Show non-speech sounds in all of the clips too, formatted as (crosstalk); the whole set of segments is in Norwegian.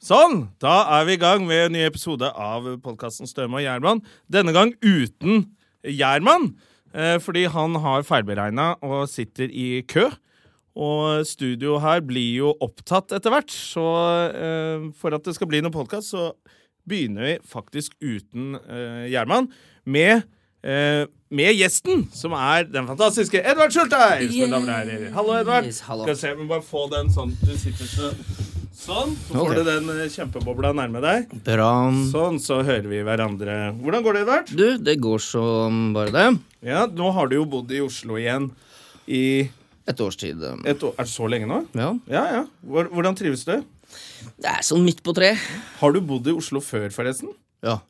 Sånn! Da er vi i gang med en ny episode av podkasten Støme og Gjerman. Denne gang uten Gjerman, eh, fordi han har feilberegna og sitter i kø. Og studio her blir jo opptatt etter hvert, så eh, for at det skal bli noen podkast, så begynner vi faktisk uten eh, Gjerman med eh, med gjesten, som er den fantastiske Edvard Schulteis! mine damer og herrer. Hallo, Edvard. Yes, hallo. Skal vi se, vi må bare få den sånn at du sitter så Sånn. Så får Ok. du den eh, kjempebobla nærme deg. Bra. Sånn, så hører vi hverandre. Hvordan går det, Edvard? Du, det går som bare det. Ja, nå har du jo bodd i Oslo igjen i Et års tid. eh, et år. Er det så lenge nå? Ja. Ja, ja. Hvor- Hvordan trives du? Det er sånn midt på tre. Har du bodd i Oslo før, forresten? Ja.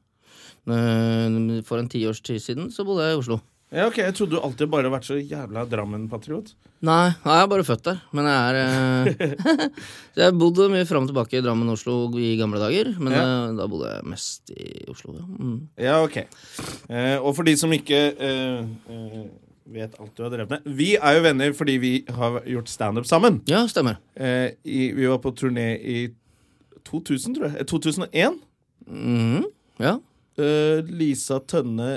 Eh, For en tiårs tid siden så bodde jeg i Oslo. Ja, ok, Jeg trodde du alltid bare har vært så jævla Drammen-patriot. Nei, nei, jeg er bare født der. Men jeg er eh, (laughs) Så jeg bodde mye fram og tilbake i Drammen og Oslo i gamle dager. Men Ja. eh, da bodde jeg mest i Oslo, ja. Mm. Ja, ok. Eh, og for de som ikke eh, eh, vet alt du har drevet med Vi er jo venner fordi vi har gjort standup sammen. Ja, stemmer. Eh, i, vi var på turné i 2000, tror jeg. Eh, 2001. Mhm, Ja, eh, Lisa Tønne,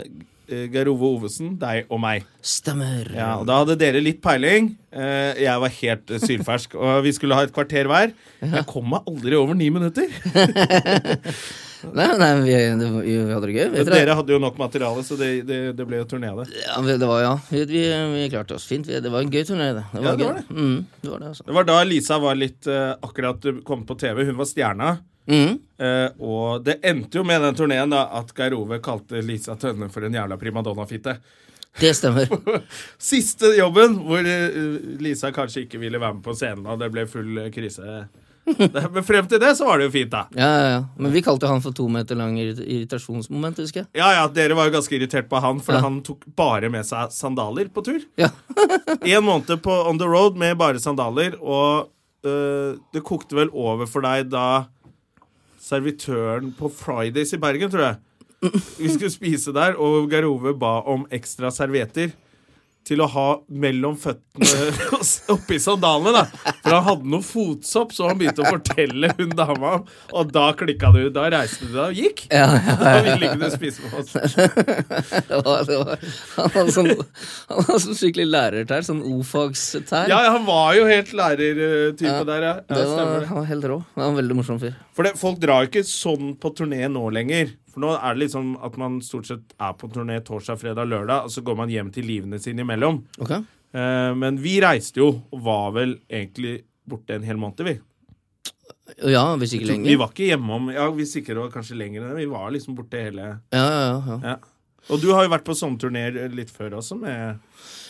eh, Geir Ove Ovesen, deg og meg. stemmer. Ja, og da hadde dere litt peiling. Eh, jeg var helt eh, sylfersk. Og vi skulle ha et kvarter hver. Jeg kom meg aldri over ni minutter. Nei, nei vi, det, var- vi hadde det gøy. Vet dere? Dere hadde jo nok materiale, så det, det, det ble jo turné av det. Ja, vi- det var, ja. Vi, vi, vi klarte oss fint. Vi, det var en gøy turné, det. Ja, det gøy. var det. Mm, det var det, altså. Det var da Lisa var litt eh, akkurat kom på TV. Hun var stjerna. Mhm. Eh, og det endte jo med den turneen da at Geir Ove kalte Lisa Tønne for en jævla primadonna-fitte. Det stemmer. Siste jobben hvor eh, Lisa kanskje ikke ville være med på scenen, og det ble full eh, krise. Men frem til det så var det jo fint, da. Ja, ja, ja. Men vi kalte han for to meter lang irrit- irritasjonsmoment, husker jeg. Ja, ja, Dere var jo ganske irritert på han, for Ja. han tok bare med seg sandaler på tur. Ja. En måned på on the road med bare sandaler, og eh, det kokte vel over for deg da servitøren på Fridays i Bergen, tror jeg Vi skulle spise der, og Geir Ove ba om ekstra servietter. Til å ha mellom føttene (laughs) og s- oppi sandalene, da. For han hadde noe fotsopp, så han begynte å fortelle hun dama om. Og da klikka du. Da reiste du deg og gikk. Ja, ja, Da ville ikke du spise med oss. (laughs) det var, det var. Han hadde sånn, han hadde sånn skikkelig lærertær, sånn O-fagstær. Ja, ja, han var jo helt lærertype der, ja. ja det stemmer var, det. han var helt rå. Han var en veldig morsom fyr. For det, folk drar jo ikke sånn på turné nå lenger. For nå er det liksom at man stort sett er på turné torsdag, fredag, lørdag, og så går man hjem til livene sine imellom. Ok? Eh, men vi reiste jo, og var vel egentlig borte en hel måned, vi. Ja, hvis ikke Vi lenger. var ikke hjemme om Ja, vi sikkert var kanskje lenger enn det. Vi var liksom borte hele Ja, ja, ja. Ja. Og du har jo vært på sånne turneer litt før også, med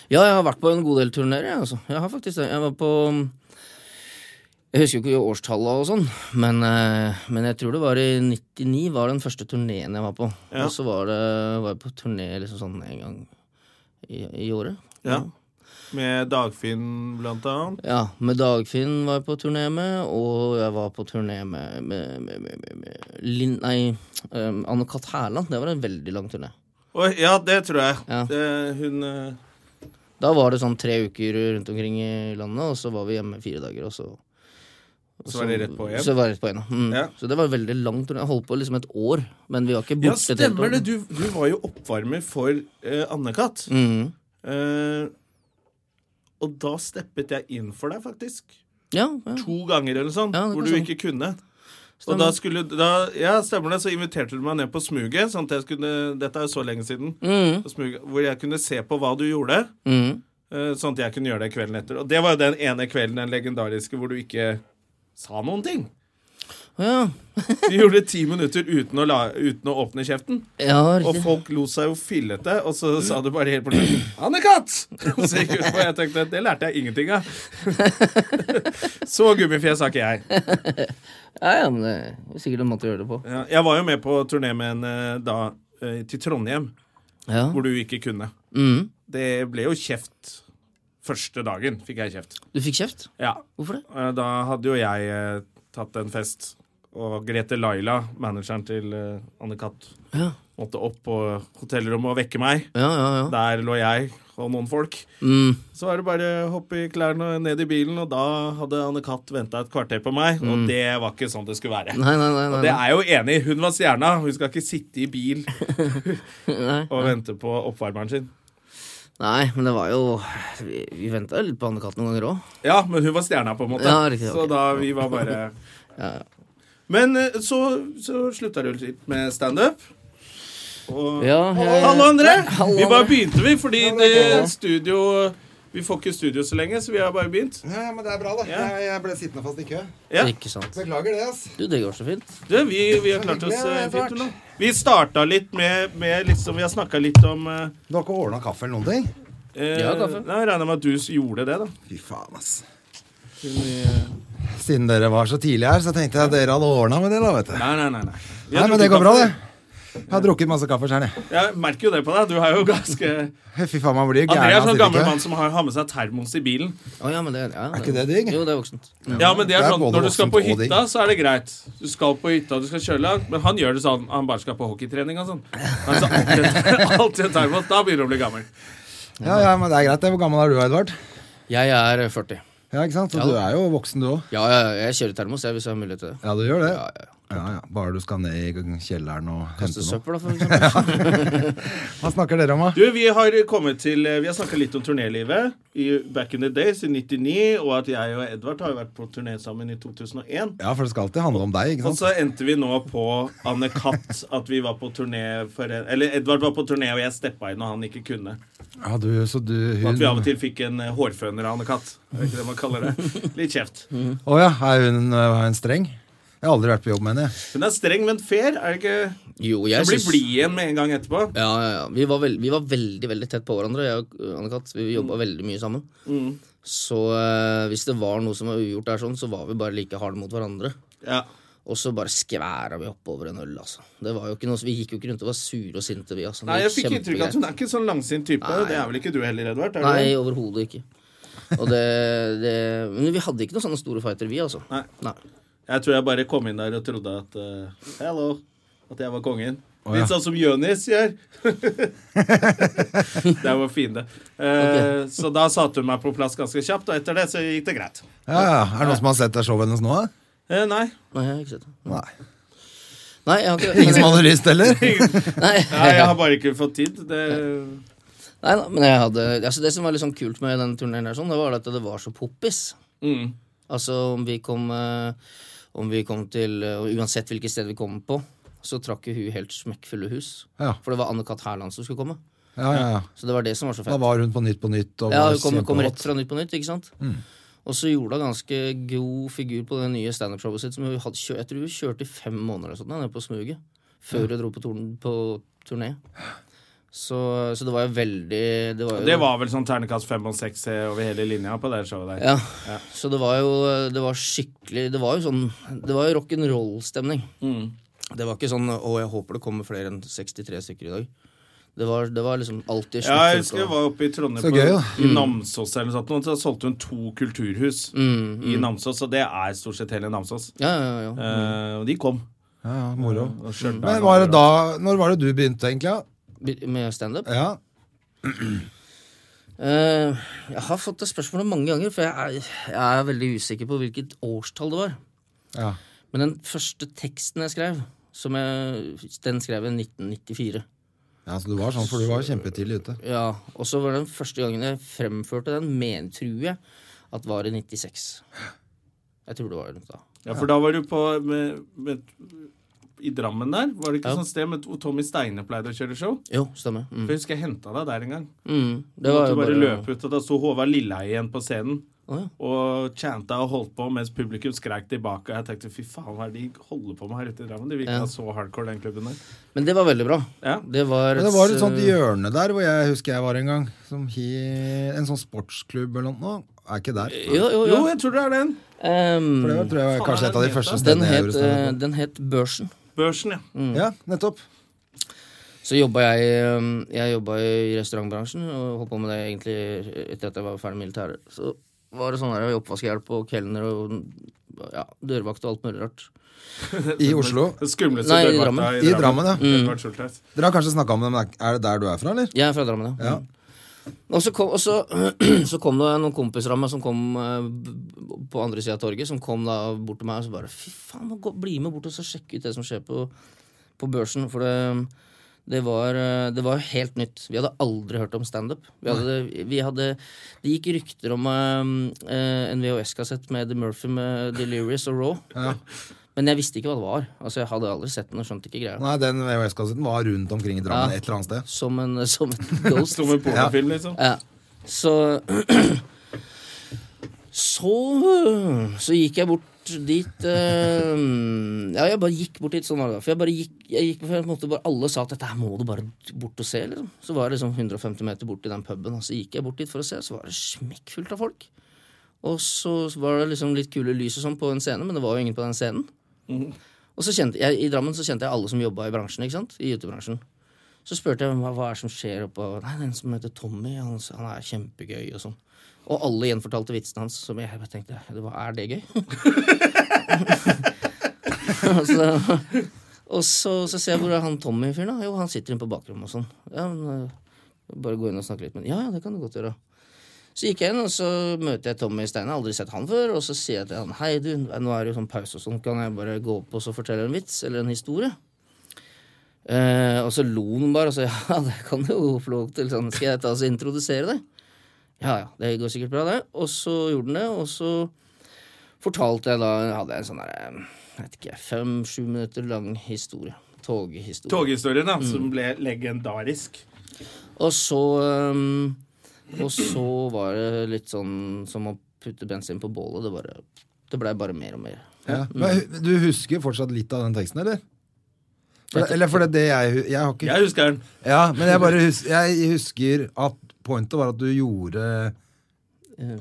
Ja, jeg har vært på en god del turneer, jeg, altså. Jeg har faktisk det. Jeg var på mm, Jeg husker jo ikke årstallet og sånn, men, eh, men jeg tror det var i 99 var den første turneen jeg var på. Ja. Og så var, det, var jeg på turné liksom sånn en gang i, i året. Ja. Med Dagfinn, blant annet. Ja, med Dagfinn var jeg på turné med, og jeg var på turné med, med, med, med, med, med Linn Nei, um, Anne-Kat. Hærland. Det var en veldig lang turné. Og, ja, det tror jeg. Ja. Det, hun eh, Da var det sånn tre uker rundt omkring i landet, og så var vi hjemme fire dager, og så og Så var det rett på igjen? Så var det rett på igjen, ja. Mm. Ja. Så det var veldig langt. Jeg holdt på liksom et år, men vi var ikke Ja, borte et helt stemmer år. det. Du, du var jo oppvarmer for eh, Anne-Kat. Mm. Eh, og da steppet jeg inn for deg, faktisk. Ja, ja. To ganger eller sånn, Ja, det hvor kan du stemme. ikke kunne. Og Stemmer. da skulle da, Ja, stemmer det. Så inviterte du meg ned på smuget. Sånn at jeg skulle, dette er jo så lenge siden. Mm. På smuget, hvor jeg kunne se på hva du gjorde, Mm. eh, sånn at jeg kunne gjøre det kvelden etter. Og det var jo den ene kvelden, den legendariske, hvor du ikke sa noen ting. Ja, Vi gjorde ti minutter uten å, la, uten å åpne kjeften, ja og riktig. folk lo seg jo fillete, og så sa du bare helt på slutten 'Anne-Kat!' Og så gikk jeg ut, og jeg tenkte det lærte jeg ingenting av. (laughs) Så gummifjes har ikke jeg. Ja, ja, men det er sikkert en måte å gjøre det på. Ja, jeg var jo med på turné med en eh, da eh, til Trondheim, Ja. hvor du ikke kunne. Mm. Det ble jo kjeft første dagen, fikk jeg kjeft. Du fikk kjeft? Ja, Hvorfor det? eh, Da hadde jo jeg eh, tatt en fest, og Grete Laila, manageren til eh, Anne-Kat, Ja, måtte opp på hotellrommet og vekke meg. ja, ja. ja. Der lå jeg og noen folk. Mm. Så var det bare å hoppe i klærne og ned i bilen, og da hadde Anne-Kat venta et kvarter på meg, og det var ikke sånn det skulle være. Mm. Nei, nei, nei. nei, Det nei. er jeg jo enig i. Hun var stjerna. Hun skal ikke sitte i (laughs) bil og vente på oppvarmeren sin. nei, men det var jo Vi, vi venta litt på Anne-Kat noen ganger òg. Ja, men hun var stjerna, på en måte. Ja, riktig, Så ok. da vi var bare (laughs) Men eh, så, så slutta du litt med standup. Og Ja, jeg- Hallo, André! hallo, Vi bare André. begynte, vi, fordi det studio Vi får ikke studio så lenge, så vi har bare begynt. Ja, men det er bra, da. Ja. Jeg, jeg ble sittende fast i kø. Ja. Ikke sant. Beklager det, ass. Du, det går så fint. Du, vi, vi har klart oss eh, hyggelig, det er fint. nå. Vi starta litt med, med liksom, Vi har snakka litt om eh, Du har ikke ordna kaffe eller noen ting? eh, Ja, kaffe. Nei, jeg regner med at du s- gjorde det, da. Fy faen, ass. eh, Siden dere var så tidlig her, så tenkte jeg at dere hadde ordna med det, da, vet du. Nei, nei, nei. nei. Vi har Nei, men det drukket går bra, kaffe. det. Jeg har drukket masse kaffe sjøl, jeg. Jeg merker jo det på deg. Du er jo ganske (laughs) Fy faen, man blir jo André er gæren av å sånn sitte i gammel kø. mann som har, har med seg termos i bilen. Å, ja, men det, ja, Er ikke det digg? Jo, det er voksent. Ja. Ja, men det er Det er sånn, både Når du skal på voksent og hytta, så er det greit. Du skal på hytta, du skal kjøre langt. Men han gjør det sånn. Han bare skal på hockeytrening og sånn. Han sa alltid alltid en (laughs) termos. Da begynner du å bli gammel. Ja, ja, men det er greit, det. Hvor gammel er du, Edvard? Jeg er 40. Ja, ikke sant? Så Ja. du er jo voksen, du òg. Ja, ja, jeg kjører termos jeg, hvis jeg har mulighet til det. Ja, du gjør det. Ja, ja. Ja, ja. Bare du skal ned i kjelleren og hente Kaste noe. søppel, da, for (laughs) eksempel. Hva snakker dere om, da? Du, Vi har kommet til eh, Vi har snakka litt om turnélivet i back in the days i 99, og at jeg og Edvard har jo vært på turné sammen i 2001. Ja, for det skal alltid handle om deg, ikke Og sant? så endte vi nå på Anne-Kat. At vi var på turné for Eller Edvard var på turné, og jeg steppa inn når han ikke kunne. Ja, du, så du, Og At vi av hun... og til fikk en eh, hårføner av Anne-Kat. Er det ikke det man kaller det? Litt kjeft. Å ja, er hun, eh, er hun streng? Jeg har aldri vært på jobb med henne. jeg. Hun er streng, men fair. Er det ikke Jo, Hun jeg blir syns blid igjen med en gang etterpå. ja, ja, ja. Vi, var veld, vi var veldig veldig tett på hverandre, jeg og øh, Anne-Kat. Vi jobba Mm. veldig mye sammen. Så øh, hvis det var noe som var ugjort der, sånn, så var vi bare like harde mot hverandre. Ja. Og så bare skværa vi oppover en øl, altså. Det var jo ikke noe, vi gikk jo ikke rundt og var sure og sinte, vi. altså. Det Nei, Jeg gikk fikk inntrykk av at hun er ikke sånn langsint type. Nei. Det er vel ikke du heller, Edvard? Er du Nei, det? overhodet ikke. Og det, det Men vi hadde ikke noen sånne store fighter, vi, altså. Nei. Nei. Jeg tror jeg bare kom inn der og trodde at eh, Hello. At jeg var kongen. ja. Litt sånn som Jonis (laughs) gjør. Der var fiende. Eh, Så da satte hun meg på plass ganske kjapt, og etter det så gikk det greit. Ja, ja. Er det noen som har sett det showet hennes nå? da? Eh, (laughs) Nei. Nei, jeg har ikke sett det. Nei. Nei, jeg har ikke Ingen som hadde lyst (laughs) heller? Nei, Nei, jeg har bare ikke fått tid. Det, Nei da, men jeg hadde altså Det som var litt sånn kult med den turneen, her sånn, det var at det var så poppis. mm. Altså om vi kom eh, Om vi kom til eh, og Uansett hvilket sted vi kom på, så trakk jo hun helt smekkfulle hus. Ja. For det var Anne-Kat. Hærland som skulle komme. Ja, ja, ja. Så det var det som var så Da fett. var hun på Nytt på Nytt. Og Ja, var hun kom, kom kjempehot. rett fra Nytt på Nytt, ikke sant? Og så gjorde hun ganske god figur på det nye standup-showet sitt. Som hun hadde, kjø- jeg tror hun kjørte i fem måneder eller sånt, da, nede på smuget. Før hun dro på, torn- på turné. Så, så det var jo veldig Det var jo det var vel sånn ternekast fem og seks eh, over hele linja på det showet der. Ja. Så det var jo Det var skikkelig Det var jo sånn Det var jo rock'n'roll-stemning. Mm. Det var ikke sånn 'Å, jeg håper det kommer flere enn 63 stykker i dag'. Det var, det var liksom alltid Ja, jeg smekkfullt, husker jeg og- var oppe i Trondheim Så på gøy, da. Mm. i Namsos eller noe sånt, og så solgte hun to kulturhus Mm, i Namsos, og det er stort sett hele Namsos. ja, ja, ja. Eh, og de kom. Ja, ja, moro. Og Stjørdal Mm. Men var det og- da, når var det du begynte, egentlig? Ja? Be- Med standup? Ja. Eh, jeg har fått det spørsmålet mange ganger, for jeg er, jeg er veldig usikker på hvilket årstall det var. ja. Men den første teksten jeg skrev, som jeg, den skrev jeg i 1994. ja, så du var sånn, for du var kjempetidlig ute. Ja, Og så var det den første gangen jeg fremførte den, men, tror jeg, at var i 96. Jeg tror det var rundt da. Ja, for da var du på med, med, I Drammen der, var det ikke Ja. sånn sted med, hvor Tommy Steine pleide å kjøre show? Jo, stemmer. Mm. For jeg husker jeg henta deg der en gang. Mm, Du det var måtte jo bare bare løpe ut, og da sto Håvard Lilleheie igjen på scenen. Å, ja. Og chanta og holdt på mens publikum skreik tilbake. Og jeg tenkte fy faen, hva er det de holder på med her ute i Drammen? De virka Ja. så hardcore, den klubben der. Men det var veldig bra. Ja. Det var, Men det var sånn et, et sånt eh, hjørne der hvor jeg husker jeg var en gang. Som he, en sånn sportsklubb eller noe. Nå, Er ikke der. Jo, jo, jo. Jo, jeg tror det er den. Ehm, For det var, tror jeg var Faen, kanskje et av de er det første den, stedene jeg het, gjorde eh, standup. den het Børsen. Børsen, ja. Mm. Ja, nettopp. Så jobba jeg, ehm, jeg jobba i restaurantbransjen og holdt på med det egentlig etter at jeg var ferdig med militæret. Så var det sånn der oppvaskhjelp og kelner og ja, dørvakt og alt mulig rart. I Oslo. Den skumleste Nei, i dørvakta Drammen. Mm. I Drammen, ja. Edvard Schultheis. Dere har kanskje snakka om det, men er- er det der du er fra, eller? Jeg er fra Drammen, ja. Ja. Og så kom, og så, (clears throat) så kom det noen kompiser av meg som kom eh, b- på andre sida av torget, som kom da bort til meg og så bare Fy faen, må gå, bli med bort og så sjekke ut det som skjer på, på børsen. For det, det, var, eh, det var helt nytt. Vi hadde aldri hørt om standup. Vi hadde- vi hadde- Det gikk rykter om eh, eh, en VHS-kassett med Eddie Murphy med Delirious og Raw. Men jeg visste ikke hva det var. Altså, Jeg hadde aldri sett den og skjønte ikke greia. Nei, den VHS-kassetten var rundt omkring i Drammen Ja. et eller annet sted. Som en som et ghost. (laughs) Som en pornofilm, liksom. Ja. Så (clears throat) Så Så gikk jeg bort dit eh, Ja, jeg bare gikk bort dit. Sånn var det. da. For jeg bare gikk, jeg gikk for jeg måtte bare, Alle sa at dette her må du bare bort og se. Liksom. Så var det liksom 150 meter bort til den puben, og så gikk jeg bort dit for å se, og så var det smekkfullt av folk. Og så var det liksom litt kule lys og sånn på en scene, men det var jo ingen på den scenen. Og så kjente jeg, I Drammen så kjente jeg alle som jobba i bransjen. ikke sant? I YouTube-bransjen. Så spurte jeg hva, hva er det som skjer oppe og, Nei, den som heter Tommy, han, han er kjempegøy og sånn. Og alle gjenfortalte vitsene hans, som jeg bare tenkte hva er det gøy? (laughs) og så, og så, så ser jeg hvor er han Tommy-fyren, da? Jo, han sitter inne på bakrommet og sånn. Ja, men, eh, bare gå inn og snakke litt med ham. Ja, ja, det kan du godt gjøre. Så gikk jeg inn, og så møter jeg Tommy Steine. Aldri sett han før. Og så sier jeg til han hei, du, nå er det jo sånn pause og sånn, kan jeg bare gå opp og så fortelle en vits eller en historie? Eh, og så (laughs) lo han bare og sa ja, det kan du jo få lov til. Sånn, skal jeg ta og introdusere deg? Ja ja, det går sikkert bra, det. Og så gjorde han det, og så fortalte jeg da Hadde jeg en sånn derre, jeg vet ikke, fem-sju minutter lang historie. Toghistorie. Toghistorien, da, Mm. som ble legendarisk. Og så øhm, Og så var det litt sånn som å putte bensin på bålet. Det, bare, det blei bare mer og mer. Ja. Men hu- du husker fortsatt litt av den teksten, eller? For, det- eller for det, er det jeg, hu- jeg har ikke Jeg husker den. Ja, men jeg bare husker, jeg husker at pointet var at du gjorde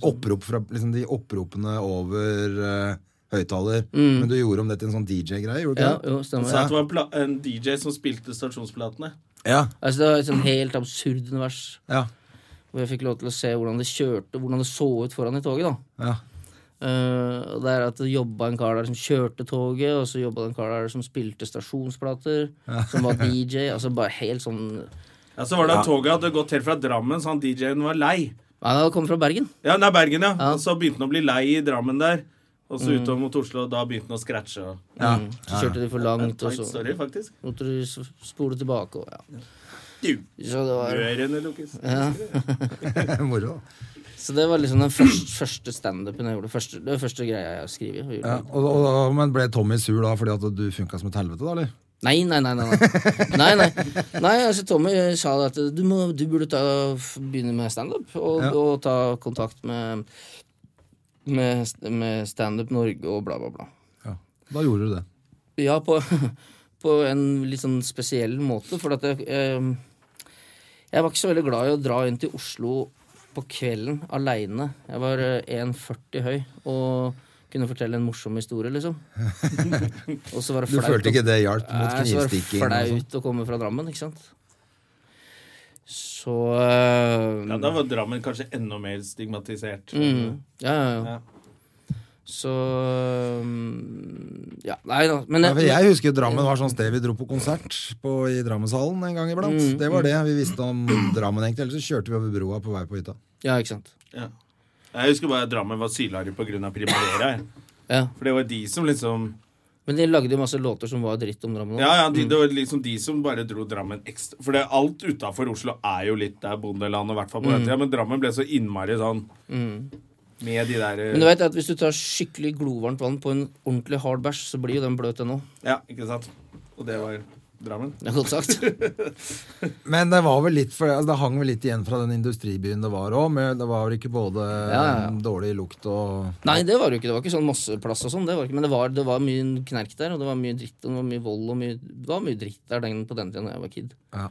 opprop fra liksom de oppropene over eh, høyttaler. Men du gjorde om det til en sånn DJ-greie, gjorde du Mm. Ja, ikke jo, Han stemmer. sa at det var en pla en DJ som spilte stasjonsplatene. det? Ja. Altså, det var et sånn helt absurd univers. ja, Hvor jeg fikk lov til å se hvordan det kjørte, hvordan det så ut foran i toget. da ja. Eh, og det er at det jobba en kar der som kjørte toget, og så jobba det en kar der som spilte stasjonsplater, som var DJ. Altså bare helt sånn Nei, Ja, Så var det at toget hadde gått helt fra Drammen, så han DJ-en var lei. han kom fra Bergen. Ja, nei, Bergen, ja. Mm. Og så begynte han å bli lei i Drammen der. Og så utover mot Oslo, og da begynte han å scratche. og- Mm. Så kjørte de for langt, og Tight så story, faktisk. måtte de s- spole tilbake. Og, ja. Du, Så det var Rørene lukkes. Mm. (laughs) Moro. da. Så det var liksom den første, første standupen jeg gjorde. Første, det var første greia jeg skrev. og gjorde. Ja, og, og, og, men ble Tommy sur da fordi at du funka som et helvete, da, eller? Nei, nei, nei. Nei, nei. nei, nei. nei altså, Tommy sa det at du, må, du burde ta, f- begynne med standup, og, Ja. og ta kontakt med, med, st- med Standup Norge og bla, bla, bla. Ja. Da gjorde du det. Ja, på, (laughs) på en litt sånn spesiell måte, for at jeg, eh, jeg var ikke så veldig glad i å dra inn til Oslo på kvelden aleine. Jeg var eh, 1,40 høy og kunne fortelle en morsom historie, (laughs) liksom. og så var det Du flaut. følte ikke det hjalp mot Nei, så var det knivstikking? og sånt? flaut å komme fra Drammen, ikke sant? Så eh, Ja, Da var Drammen kanskje enda mer stigmatisert. Mm. Ja, ja, Ja. ja. Så um, Ja, nei da. Men Ja, for jeg husker Drammen var sånn sted vi dro på konsert på, i Drammenshallen en gang iblant. Mm, Det var det vi visste om Drammen, egentlig. Ellers så kjørte vi over broa på vei på hytta. ja, ikke sant. Ja. Jeg husker bare at Drammen var sylarrig pga. Primavera. jeg. Ja. For det var de som liksom Men de lagde jo masse låter som var dritt om Drammen. også. Ja, ja, de, det var liksom de som bare dro Drammen ekstra. For det, alt utafor Oslo er jo litt der bondeland, og i hvert fall på den tida. Men Drammen ble så innmari sånn med de der eh, Men du vet at hvis du tar skikkelig glovarmt vann på en ordentlig hard bæsj, så blir jo den bløt ennå. Ja, ikke sant? Og det var Drammen. Det er godt sagt. (laughs) Men det var vel litt for, altså det hang vel litt igjen fra den industribyen det var òg, men det var vel ikke både ja, ja. dårlig lukt og Nei, det var det jo ikke. Det var ikke sånn masseplass og sånn. Det var ikke, men det var, det var mye knerk der, og det var mye dritt, og det var mye vold, og mye, det var mye dritt der den, på den tiden da jeg var kid. Ja.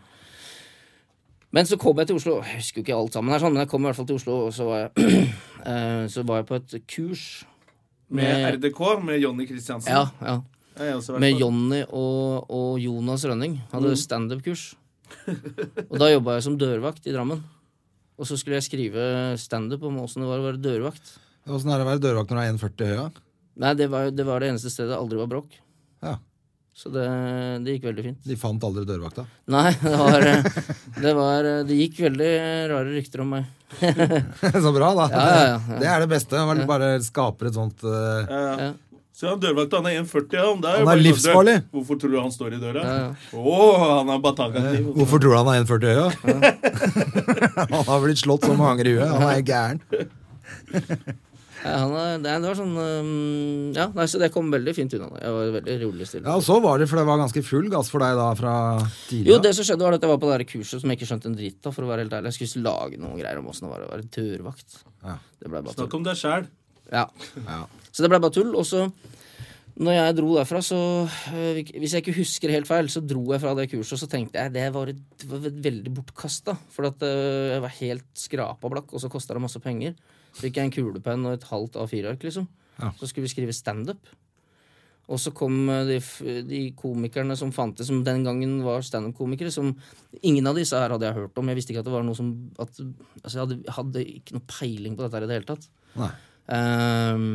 Men så kom jeg til Oslo. Jeg husker jo ikke alt sammen her, sånn, men jeg kom i hvert fall til Oslo, og så var jeg, (clears throat) eh, så var jeg på et kurs. Med RDK, med Jonny Kristiansen. Ja, ja. Jeg har også vært Med på- Jonny og, og Jonas Rønning. Hadde standup-kurs. Og da jobba jeg som dørvakt i Drammen. Og så skulle jeg skrive standup om åssen det var å være dørvakt. Åssen er det sånn å være dørvakt når du er 1,40 høy? da? Nei, det var, det var det eneste stedet det aldri var bråk. Ja. Så det, det gikk veldig fint. (laughs) De fant aldri dørvakta. (laughs) Nei, det var, det var Det gikk veldig rare rykter om meg. Så bra, da. Ja, ja, ja. Det er det beste. Man bare skaper et sånt eh, Ja, ja. Ja. Så han dørvakt, han er 1,40. Han, det Han jo er bare sånn, livsfarlig. «Du, Hvorfor tror du han står i døra? Å, Ja, ja. han har batagakniv. Hvorfor tror du han er 1,40 høy? da? (laughs) han har blitt slått som hanger i huet. Han er gæren. Ja, han er, det, det var sånn øhm, Ja, nei, så det kom veldig fint unna. Jeg var veldig rolig stille. Ja, Og så var det, for det var ganske full gass for deg da fra tidligere. Jo, det som skjedde var at jeg var på det der kurset som jeg ikke skjønte en dritt av. For å være helt ærlig Jeg skulle lage noen greier om åssen det var å være dørvakt. Ja. Det ble bare tull. Snakk om deg sjæl. Ja. Ja. Så det ble bare tull. Og så, når jeg dro derfra, så øh, Hvis jeg ikke husker helt feil, så dro jeg fra det kurset, og så tenkte jeg det var, et, det var veldig bortkasta. For at øh, jeg var helt skrapa blakk, og så kosta det masse penger. Så fikk jeg en kulepenn og et halvt A4-ark, liksom. Ja. Så skulle vi skrive standup. Og så kom eh, de, f- de komikerne som fantes, som den gangen var standup-komikere. som Ingen av disse her hadde jeg hørt om. Jeg visste ikke at det var noe som at, altså Jeg hadde, hadde ikke noe peiling på dette her i det hele tatt. Nei. Ehm,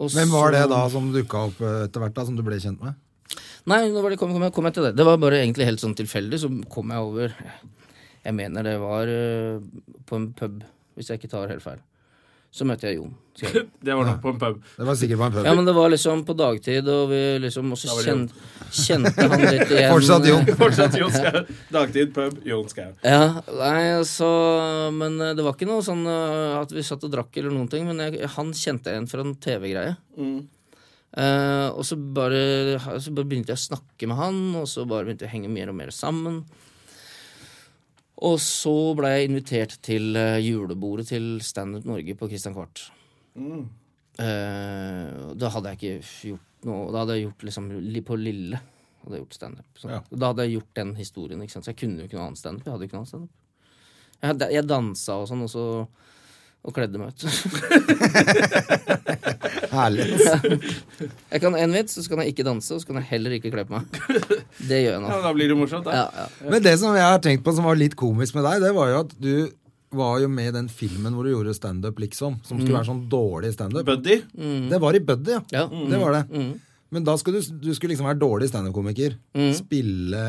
og Hvem var det så- da som dukka opp eh, etter hvert, da, som du ble kjent med? Nei, nå var det, kom, kom, jeg- kom jeg til det. Det var bare egentlig helt sånn tilfeldig. Så kom jeg over Jeg mener det var eh, på en pub, hvis jeg ikke tar helt feil. Så møtte jeg Jon. Så jeg- Det var nok på en (laughs) pub. Det var sikkert på en pub. Ja, men det var liksom på dagtid, og vi liksom Og så Da var det Jon. kjente, kjente han (laughs) litt igjen. Fortsatt (laughs) Jon. Fortsatt Jon Skau. Dagtid, pub, Jon Skau. Ja, nei, altså Men eh, det var ikke noe sånn eh, at vi satt og drakk eller noen ting, men jeg, han kjente jeg igjen fra en TV-greie. Eh, og så bare, så bare begynte jeg å snakke med han, og så bare begynte vi å henge mer og mer sammen. Og så ble jeg invitert til eh, julebordet til Stand Up Norge på Christian Kvart. Eh, og da hadde jeg ikke gjort noe Da hadde jeg gjort liksom li- på Lille. Hadde jeg gjort standup. sånn. Ja. Og Da hadde jeg gjort den historien. Ikke sant? Så jeg kunne jo ikke noe annet standup. Jeg hadde jo ikke noe annet standup. Jeg, hadde- jeg dansa og sånn, og så og kledde meg ut. (laughs) Herlig. Jeg kan en vits, så kan jeg ikke danse, og så kan jeg heller ikke kle på meg. Det gjør jeg nå. Ja, da blir det morsomt, da. Ja, ja. Men det som jeg har tenkt på som var litt komisk med deg, det var jo at du var jo med i den filmen hvor du gjorde standup, liksom. Som skulle være sånn dårlig standup. Buddy. Det var i Buddy, ja. Mm. Ja. Mm. Det var det. Men da skulle du, du skulle liksom være dårlig standup-komiker. Spille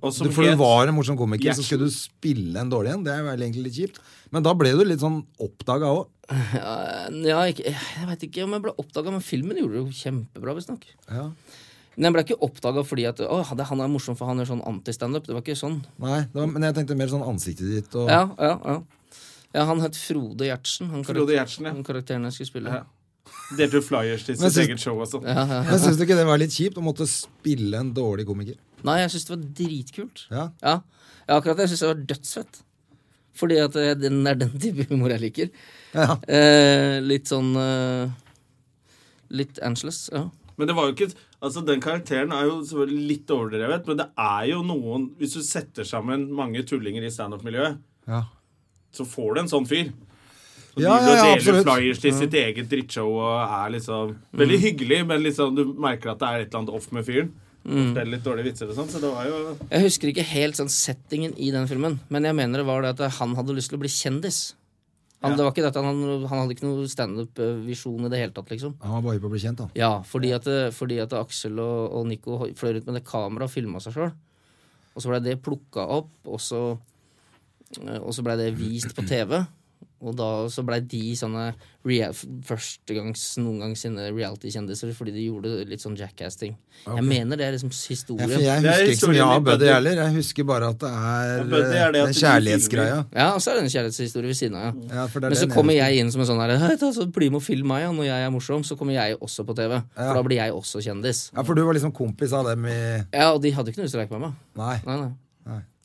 Og som du, For het- du var en morsom komiker, Gjertsen. så skulle du spille en dårlig en. Det er jo egentlig litt kjipt. Men da ble du litt sånn oppdaga òg. ja ikke, jeg veit ikke om jeg ble oppdaga, men filmen gjorde det jo kjempebra, visstnok. Ja. Men jeg ble ikke oppdaga fordi at Å, det, han er morsom, for han gjør sånn antistandup. Det var ikke sånn. Nei, det var, men jeg tenkte mer sånn ansiktet ditt og Ja, ja, ja. ja han het Frode Gjertsen, han, Frode Gjertsen, ja. han karakteren jeg skulle spille. Ja. Delte ut flyers til Men sitt syns- eget show også. Men syns du ikke det var litt kjipt å måtte spille en dårlig komiker? Nei, jeg syns det var dritkult. Ja. Ja, ja akkurat det. Jeg syns jeg var dødsfett. Fordi at eh, den er den type humor jeg liker. Ja. Eh, litt sånn eh, Litt angeless. Ja. Men det var jo ikke Altså, den karakteren er jo selvfølgelig litt overdrevet, men det er jo noen Hvis du setter sammen mange tullinger i standup-miljøet, Ja. så får du en sånn fyr. Og Ja, driver ja, ja, og deler absolutt. flyers til sitt eget drittshow og er liksom Veldig hyggelig, men liksom du merker at det er et eller annet off med fyren. Forteller litt dårlige vitser og sånn, så det var jo Jeg husker ikke helt sånn settingen i den filmen, men jeg mener det var det at han hadde lyst til å bli kjendis. Han, det var ikke dette, han, han hadde ikke noe standup-visjon i det hele tatt, liksom. Han var bare på å bli kjent, han. Ja, fordi at, eh, fordi at Aksel og, og Nico ho- fløy rundt med det kameraet og filma seg sjøl. Og så blei det plukka opp, og så, eh, og så blei det vist på TV. Og da så blei de sånne rea- førstegangs noen gang sine reality-kjendiser fordi de gjorde litt sånn jackass-ting. Jeg mener det er liksom Jeg, historien. for jeg Det er husker ikke så mye historien i av Buddy Buddy. heller. Jeg husker bare at det er, Ja, Buddy er det eh, at den du kjærlighetsgreia. Ja, og så er det en kjærlighetshistorie ved siden av. ja. Ja, for det er Men så den kommer eneste. jeg inn som en sånn her «Hei, ta, så Bli med og film meg, ja. når jeg er morsom, så kommer jeg også på TV. Ja. For da blir jeg også kjendis. Ja, for du var liksom kompis av dem i Ja, og de hadde ikke noe lyst til å leke med meg. Nei. Nei, nei.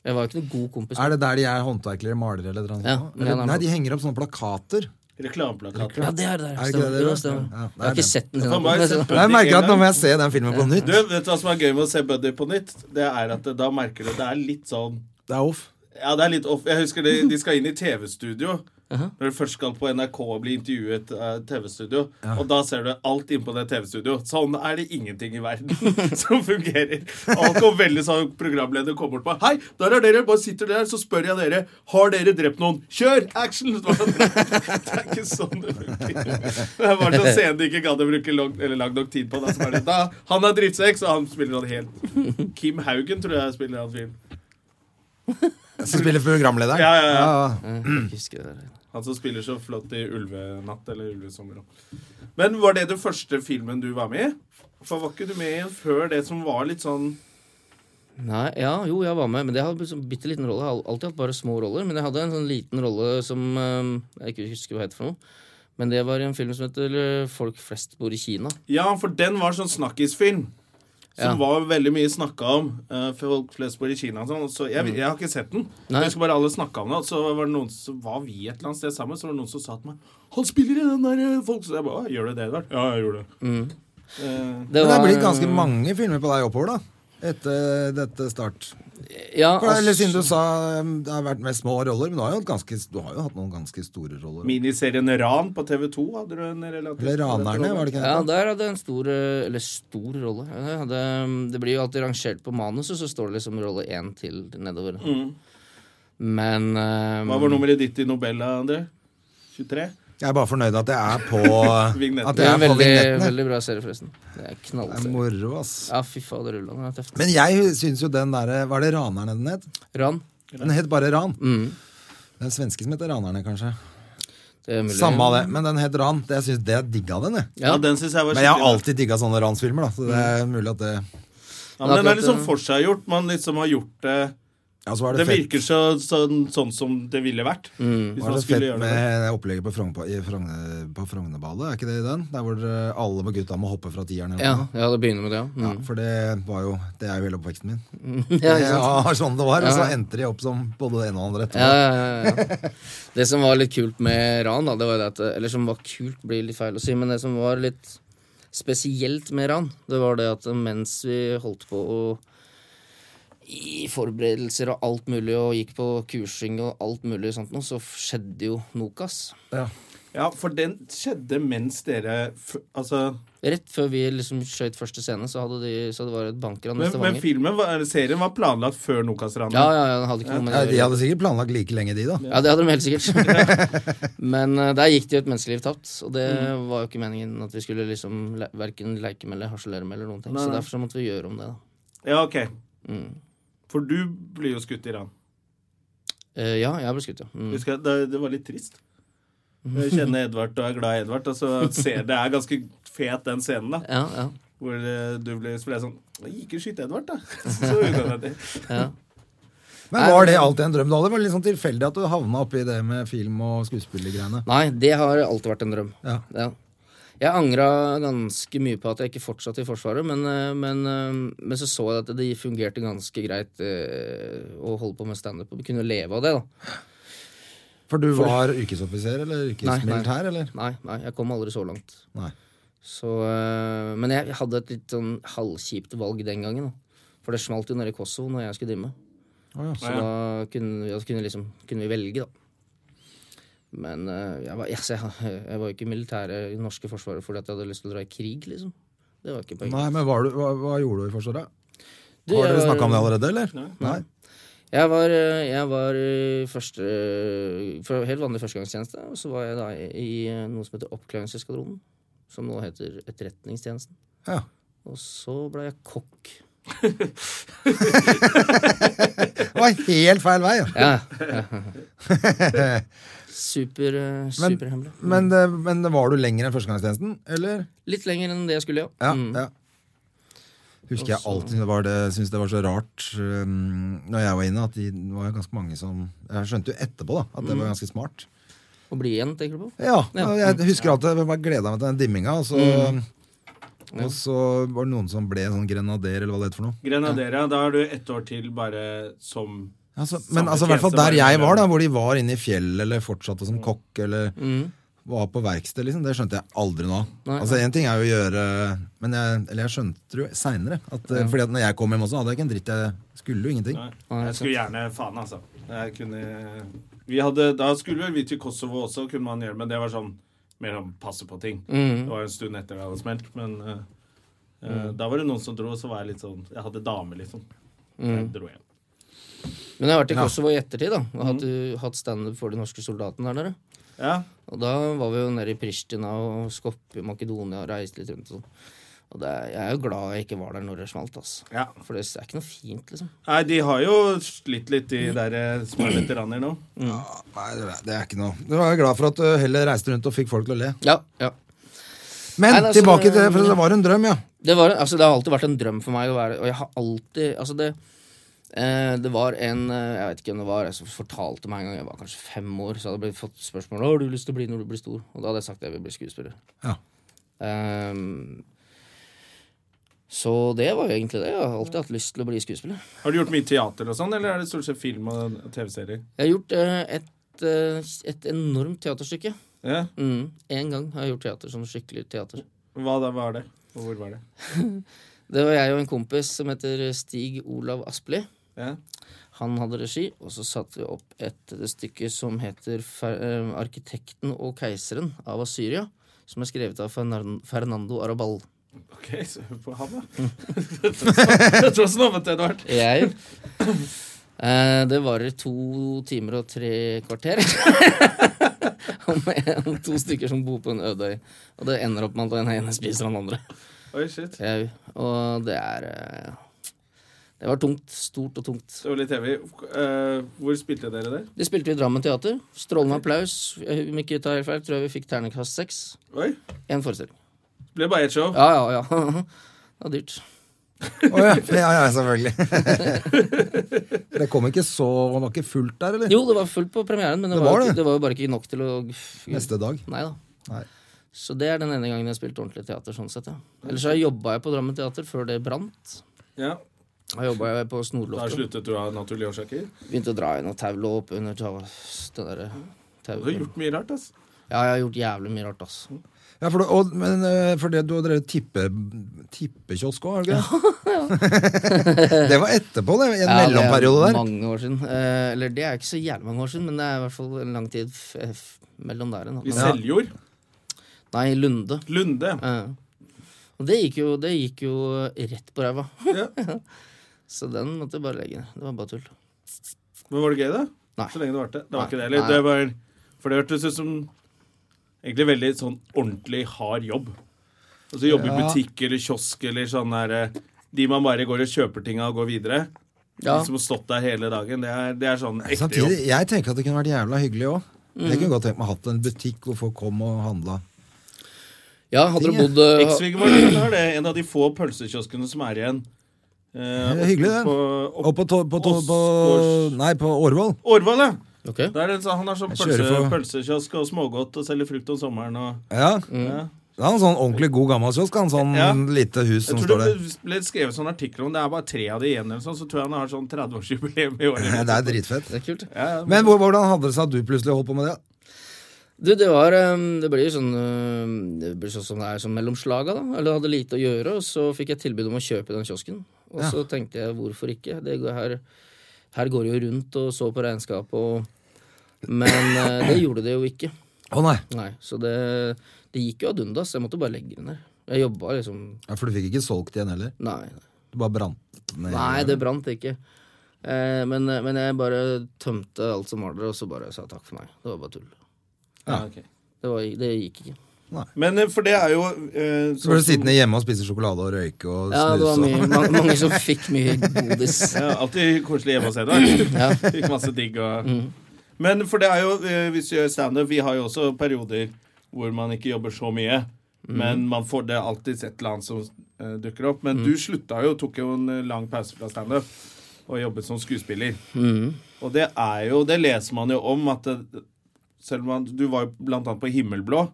Jeg var jo ikke noe god kompis. Er det der de er håndverkere, malere eller noe? Ja, sånt? men den Eller- er- Nei, de henger opp sånne plakater. Reklameplakater. Ja, det er det. der. Er det Stemmer. ikke det det Jo, er? stemmer. Ja, det er Jeg har det. ikke sett den Da kan man bare siden. (clears throat) sette- Jeg merker at nå må jeg se den filmen på nytt. Du, vet du hva som er gøy med å se Buddy på nytt? Det er at det, da merker du det er litt sånn Det er off. Ja, det er litt off. Jeg husker de, de skal inn i TV-studio. Når du først skal på NRK og bli intervjuet av TV-studio, og da ser du alt innpå det TV-studio. Sånn er det ingenting i verden (laughs) som fungerer. Alt går veldig sånn programleder kommer bort på. Hei, der er dere. Bare sitter dere her, så spør jeg dere. Har dere drept noen? Kjør! Action! (laughs) Det er ikke sånn det fungerer. Det er bare sånn scene de ikke gadd å bruke lang, eller lang nok tid på. Da, så er det, da, han er drittsekk, og han spiller han helt Kim Haugen tror jeg spiller han film. Som spiller programlederen. Ja, ja, ja. Mm. Jeg husker det der. Han som spiller så flott i Ulvenatt eller Ulvesommer. også. Men var det den første filmen du var med i? For var ikke du med i en før det som var litt sånn Nei, ja, jo, jeg var med, men det hadde en bitte liten rolle. Jeg har alltid hatt bare små roller, men jeg hadde en sånn liten rolle som eh, jeg ikke husker hva heter for noe. Men det var i en film som heter eh, Folk flest bor i Kina. Ja, for den var sånn snakkisfilm. Som Ja. var veldig mye snakka om. eh, for folk flest bor i Kina og sånn. og Så jeg, Mm. jeg har ikke sett den. Nei. Jeg husker bare alle snakka om det. Og så var, det noen, som var vi et eller annet sted sammen, så var det noen som sa til meg Han spiller i den der eh, folk... Så jeg bare, «Å, Gjør du det, Edvard? Mm. Ja, jeg gjorde det. Eh, Det Men det er var- blitt ganske mange filmer på deg oppover, da. Etter dette start. ja, For det, eller altså- siden du sa um, det har vært med små roller, men du har jo hatt, ganske, du har jo hatt noen ganske store roller. miniserien Ran på TV2 hadde du en relativt Eller Ranerne, var det ikke det? Ja, der hadde jeg en stor eh, Eller stor rolle. Jeg hadde, ehm, det blir jo alltid rangert på manuset, så står det liksom rolle én til nedover. Men eh, Hva var nummeret ditt i Nobella, André? 23? Jeg er bare fornøyd at jeg er (laughs) på uh, Vignetten. At Det er jeg er en på veldig, vignetten. jeg. veldig bra serie, forresten. Det er Det er knallserie. moro, ass. Ja, fy fader, Ulland. Det er tøft. Men jeg syns jo den derre Var det Ranerne den het? Ran. Den het bare Ran. Den svenske som heter Ranerne, kanskje. Det er mulig. Samme av det, men den het Ran. Det, jeg syns det digga den, jeg. Ja, den synes jeg var Men jeg har skikkelig- alltid digga sånne ransfilmer, da. Så det er Mm. mulig at det ja, men Den er Akkurat, litt sånn ja. forseggjort. Man liksom har gjort det Ja, så var Det det, fett, virker så, sånn, sånn som det ville vært. Hvis man var skulle det fett gjøre det. med opplegget på, Frogn, i Frogne, på Frognerballet, er ikke det i den? Der hvor eh, alle med gutta må hoppe fra tieren eller Ja, noe. ja, det begynner med det, ja. Ja, Mm. for det var jo Det er jo hele oppveksten min. (laughs) Ja, ikke sant? Ja, sånn det var. Og så Ja. endte de opp som både det ene og det andre Ja, etterpå. ja, ja, ja. Det som var litt kult med Ran, da, det var jo det at Eller som var kult, blir litt feil å si, men det som var litt spesielt med Ran, det var det at mens vi holdt på å i forberedelser og alt mulig, og gikk på kursing og alt mulig sånt noe, så skjedde jo Nokas. Ja, for den skjedde mens dere f Altså Rett før vi liksom skjøt første scene, så, hadde de, så det var et bankran i Men, men Stavanger. filmen, var- eller serien var planlagt før Nokas-ranet. Ja, ja, ja, det hadde ikke noe med Ja, det å de gjøre. hadde sikkert planlagt like lenge, de, da. Ja, det hadde de helt sikkert. (laughs) Men eh, der gikk det jo et menneskeliv tapt, og det var jo ikke meningen at vi skulle liksom le verken leke med eller harselere med eller noen ting. Nei, Så nei. derfor så måtte vi gjøre om det, da. Ja, ok. For du blir jo skutt i ran. Eh, ja, jeg ble skutt, ja. Mm. Husker jeg, det, det var litt trist. Jeg kjenner Edvard og er glad i Edvard. Og så ser det er ganske fet, den scenen, da. Ja, ja. Hvor eh, du ble, så ble jeg sånn Jeg gikk jo skyte Edvard, da. (laughs) Så unødvendig. Men var det alltid en drøm du hadde? Var det litt sånn tilfeldig at du havna oppi det med film og skuespillergreiene? Nei, det har alltid vært en drøm. Ja. Jeg angra ganske mye på at jeg ikke fortsatte i Forsvaret, men, eh, men, eh, men så så jeg at det fungerte ganske greit eh, å holde på med standup og kunne leve av det, da. For du var yrkesoffiser eller yrkesmilitær, eller? Nei, nei, jeg kom aldri så langt. Nei. Så, øh, men jeg hadde et litt sånn halvkjipt valg den gangen. Da. For det smalt jo nede i Kosovo når jeg skulle drive med. Ja, Så da kunne, vi- da kunne, liksom, kunne vi velge, da. Men øh, jeg, var, jeg, jeg, jeg var jo ikke i militæret i det norske forsvaret fordi at jeg hadde lyst til å dra i krig, liksom. Det var ikke poenget. Nei, men var du, hva, hva gjorde du i Forsvaret? Du, eh, Har dere jeg var- snakka om det allerede, eller? Nei. Jeg var, øh, jeg var øh, første, øh, for helt vanlig førstegangstjeneste, og så var jeg da i, i øh, noe som heter Oppklaringseskadronen. Som nå heter Etterretningstjenesten. Ja. Og så ble jeg kokk Det var helt feil vei. Ja. Ja. super, eh, Superhemmelig. Men, det, men det var du lenger enn førstegangstjenesten, eller? Litt lenger enn det jeg skulle, ja. Ja, Mm. ja. Husker jeg alltid det var det, syntes det var så rart um, når jeg var inne, at de, det var jo ganske mange som Jeg skjønte jo etterpå da, at det var ganske smart. Å bli igjen, tenker du på? Ja, Mm. Ja. og Jeg husker alltid jeg bare gleda meg til den dimminga, og så Mm. Og så var det noen som ble en sånn grenader, eller hva det heter for noe. Grenadera, da er du ett år til bare som Altså, Samme men altså, i hvert fall tjeneste, der bare jeg var, da, mellom. hvor de var inne i fjellet eller fortsatte som kokk eller var på verksted, liksom, det skjønte jeg aldri nå. Nei, altså, Én ting er jo å gjøre men jeg, Eller jeg skjønte det jo seinere. Ja. Fordi at når jeg kom hjem også, hadde jeg ikke en dritt. Jeg skulle jo ingenting. Nei, Nei, jeg skulle gjerne Faen, altså. Jeg kunne vi hadde, Da skulle vel vi til Kosovo også, kunne man gjøre, men det var sånn mer om passe på ting. Det var en stund etter det hadde smelt, men eh, eh, da var det noen som dro, og så var jeg litt sånn Jeg hadde dame, liksom. Jeg dro hjem. Men jeg har vært i Kosovo i ettertid, da. Og hatt, eh, hatt standup for de norske soldatene der. da. Ja. Og da var vi jo nede i Pristina og Skopje, Makedonia, og reiste litt rundt og sånn. Og det, er- jeg er jo glad jeg ikke var der når det smalt, altså. ja. For det er ikke noe fint, liksom. Nei, de har jo slitt litt, de der eh, som er veteraner nå. Ah, Nei, det, er- det er ikke noe. Du var jo glad for at du heller reiste rundt og fikk folk til å le. Ja, ja. Men Nei, det er så- tilbake til For det var en drøm, ja. Det, var, altså, det har alltid vært en drøm for meg å være Og jeg har alltid Altså, det eh, Det var en eh, Jeg vet ikke hvem det var, jeg som fortalte meg en gang jeg var kanskje fem år, så hadde jeg blitt- fått spørsmål Hva har du lyst til å bli når du blir stor. Og da hadde jeg sagt at jeg vil bli skuespiller. Ja. Ehm, så det var jo egentlig det. Jeg har alltid hatt lyst til å bli skuespiller. Har du gjort mye teater og sånn, eller er det stort sett film og TV-serier? Jeg har gjort eh, et, eh, et enormt teaterstykke. Ja. Mm. En gang har jeg gjort teater, sånn skikkelig teater. Hva da var det? Og hvor var det? Det var jeg og en kompis som heter Stig Olav Aspli. Ja. Han hadde regi, og så satte vi opp et stykke som heter Fer- eh, 'Arkitekten og keiseren' av Asyria. Som er skrevet av Fernan- Fernando Arabal. Ok, så hør på (laughs) han, da. Jeg tror snobbet det hadde vært. Jeg (laughs) eh, Det varer to timer og tre kvarter. (laughs) om, en, to stykker som bor på en øde øy. Og det ender opp med at den ene spiser den andre. Oi, shit. Jeg, og det er eh, Det var tungt. Stort og tungt. Det var litt heavy. Eh, hvor spilte dere der? Det spilte vi i Drammen Teater. Strålende applaus. Jeg- Om ikke jeg tar helt feil, tror jeg vi fikk terningkast seks. Oi, Én forestilling. det ble bare ett show. Ja, ja, (laughs) ja. Det var dyrt. Å, ja. (laughs) ja. Ja, selvfølgelig. (laughs) det kom ikke så Det var ikke fullt der, eller? Jo, det var fullt på premieren, men det, Det var, var jo det. ikke, det var jo bare ikke nok til å Neste dag. Nei da. Nei. Så det er den ene gangen jeg har spilt ordentlig teater. sånn sett, ja. Ellers så jobba jeg på Drammen Teater før det brant. Ja, Da jobba jeg på Da Snorloftet. sluttet du av naturlige årsaker. Begynte å dra i noe tau, lå opp under tau, det derre Du har tauet. gjort mye rart, altså. Ja, jeg har gjort jævlig mye rart, altså. Ja, for, det, og, men, eh, for det, du har drevet tippe, tippekiosk òg, har du ikke (laughs) det? det var etterpå, det. I en Ja, det er mellomperiode der. Mange år siden. Eh, eller det er ikke så jævlig mange år siden, men det er i hvert fall en lang tid f f mellom der. igjen, I da. Men, Seljord. Nei, Lunde. Lunde. Eh, og det gikk, jo, det gikk jo rett på ræva. Ja. (laughs) Så den måtte jeg bare legge ned. Det var bare tull. Men var det gøy, da? Nei. Så lenge det varte. Det var Nei. ikke det heller. Nei. Det var, for det hørtes ut som egentlig veldig sånn ordentlig hard jobb. Altså jobbe i butikk eller kiosk eller sånn der eh, De man bare går og kjøper ting av og går videre. Ja. De som har stått der hele dagen. Det er, det er sånn ekte jobb. Samtidig, jeg tenker at det kunne vært jævla hyggelig òg. Mm. Jeg kunne godt tenkt meg å hatt en butikk hvor folk kom og handla. ja, hadde du Ting, ja. bodd eh, Ekssvigermor har det. En av de få pølsekioskene som er igjen. Eh, Det er hyggelig, det. På, Og på, to, på, to, på, Åsgårds- Nei, på Årvoll. Årvoll, ja. Ok. Der er det, så han har sånn Jeg pølse, kjører for- pølsekiosk og smågodt og selger frukt om sommeren. Og, Ja. Mm. ja. Det er en sånn ordentlig god gammel kiosk. Han sånn Ja. lite hus som Jeg står tror der. det ble skrevet sånn artikler om det er bare tre av de igjen, eller sånn, så tror jeg han har sånn 30-årsjubileum i år. Ja, (laughs) (laughs) det er dritfett. Det er kult. Ja, ja. Men hvor- hvordan hadde det seg at du plutselig holdt på med det? Du, det var eh, Det blir sånn eh, Det blir sånn som det er sånn mellom slaga, da. Eller hadde lite å gjøre, og så fikk jeg tilbud om å kjøpe den kiosken. Og så tenkte jeg hvorfor ikke? Det går her, her går det jo rundt og så på regnskapet og Men eh, det gjorde det jo ikke. Å nei. Nei, Så det, det gikk jo ad undas. Jeg måtte bare legge den der. Jeg jobba liksom Ja, for du fikk ikke solgt igjen heller? Nei, nei. Du bare brant den ned? Nei, det brant ikke. Eh, men, men jeg bare tømte alt som var der, og så bare sa takk for meg. Det var bare tull. Ja, ok. Det, var, det gikk ikke. Nei. Men eh, for det er jo eh, Så sånn ble du sittende hjemme og spise sjokolade og røyke og Ja, det var snuse. mye, og- mange, mange som fikk (laughs) mye godis. Ja, alltid koselig hjemme hos deg. da. Fikk masse digg og Men for det er jo, eh, hvis du gjør standup Vi har jo også perioder hvor man ikke jobber så mye. Men man får det er alltid et eller annet som eh, dukker opp. Men du slutta jo, tok jo en eh, lang pause fra standup og jobbet som skuespiller. Og det er jo Det leser man jo om at det, selv om man, Du var jo blant annet på Himmelblå.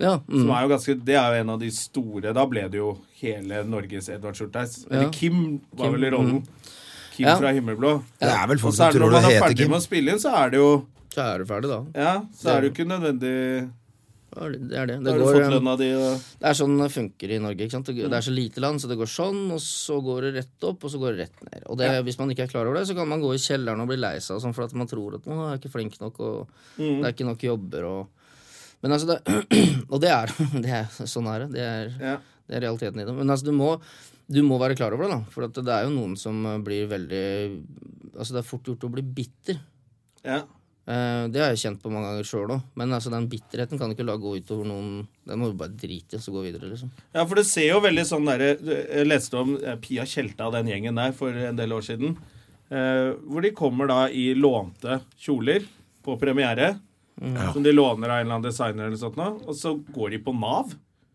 Ja, Som mm. er jo ganske, det er jo en av de store. Da ble det jo hele Norges Edvard Schurteis. Eller Ja. Kim var Kim, mm. vel rollen. Kim Ja. fra Himmelblå. Det er vel Og folk så som er det tror når du man er heter ferdig Kim. med å spille inn, så er det jo så er du ferdig, da. Ja, så er det jo ikke nødvendig Ja, Det det er det. Da Det, har du går, fått um, lønna di og det er sånn det funker i Norge. ikke sant? Det det er så lite land, så det går sånn, og så går det rett opp, og så går det rett ned. Og det, hvis man ikke er klar over det, så kan man gå i kjelleren og bli lei seg og sånn, for at man tror at man er jeg ikke flink nok, og det er ikke nok jobber og Men altså, det (clears throat) Og det er, det er sånn er det. Det er, ja. det er realiteten i det. Men altså, du må, du må være klar over det, da. For at det er jo noen som eh, blir veldig Altså, det er fort gjort å bli bitter. ja. Eh, det har jeg kjent på mange ganger sjøl òg. Men altså, den bitterheten kan du ikke la gå utover noen Den må du bare drite i og så gå videre, liksom. Ja, for det ser jo veldig sånn derre Jeg leste om eh, Pia Tjelta og den gjengen der for en del år siden. Eh, hvor de kommer da i lånte kjoler på premiere. Som de låner av en eller annen designer, eller sånt nå, og så går de på Nav.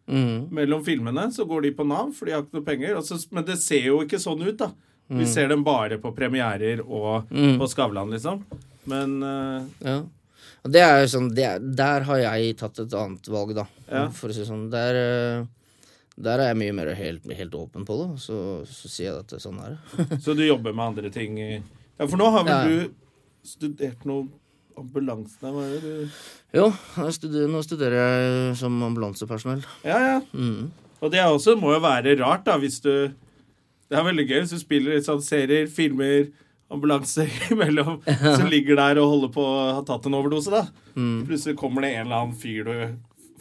Mellom filmene så går de på Nav, for de har ikke noe penger. Og så, men det ser jo ikke sånn ut, da. Vi ser dem bare på premierer og på Skavlan, liksom. Men eh, Ja. Og det er jo sånn det er, Der har jeg tatt et annet valg, da. Ja. For å si det sånn. Der, eh, der er jeg mye mer helt, helt åpen på det. og Så, så sier jeg at det er sånn er det. (laughs) Så du jobber med andre ting i Ja, for nå har vel Ja. du studert noe ambulanse Nei, hva er det du Jo, jeg studerer, nå studerer jeg som ambulansepersonell. Ja, ja. Og det er også, må jo være rart, da, hvis du Det er veldig gøy hvis du spiller litt sånn serier, filmer, ambulanser (laughs) imellom, som ligger der og holder på å ha tatt en overdose, da. Plutselig kommer det en eller annen fyr du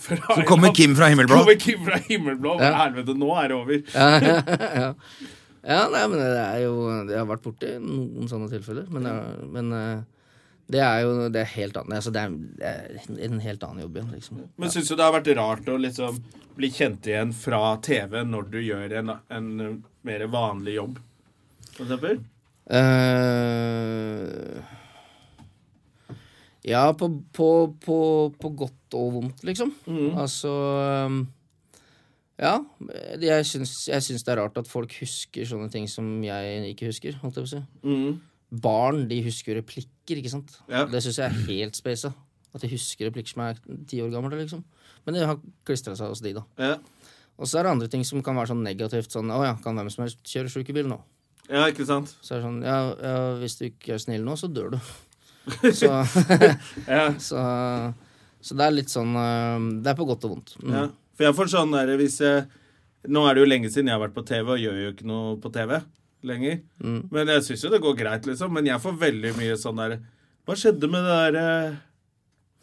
fra en eller Så kommer annen- Kim fra Himmelblå. (laughs) Kommer Kim fra himmelblå. Hva Ja. helvete, nå er det over. ja. (laughs) ja, nei, men det er jo Jeg har vært borti noen sånne tilfeller. Men, jeg- men eh, det er jo det er helt annet. Altså, det, er, det er en helt annen jobb igjen, liksom. Men syns du det har vært rart å liksom bli kjent igjen fra TV når du gjør en, en mer vanlig jobb, for eksempel? Eh, ja, på, på, på, på godt og vondt, liksom. Altså um, Ja. Jeg syns, jeg syns det er rart at folk husker sånne ting som jeg ikke husker. Holdt jeg på å si. Mm. Barn de husker jo replikker, ikke sant? Ja. Det syns jeg er helt space. At de husker replikker som er ti år gamle. liksom Men det har klistra seg hos de, da. Ja, Og så er det andre ting som kan være sånn negativt. Sånn, å ja, kan hvem som helst kjøre sjukebil nå? ja ikke sant? Så er det sånn, ja, ja, hvis du ikke er snill nå, så (laughs) dør du. Så, Ja. (laughs) så, så det er litt sånn eh, Det er på godt og vondt. Mm. Ja, for jeg får sånn der hvis jeg, Nå er det jo lenge siden jeg har vært på TV, og gjør jo ikke noe på TV lenger. Mm. Men jeg syns jo det går greit, liksom. Men jeg får veldig mye sånn der Hva skjedde med det der eh,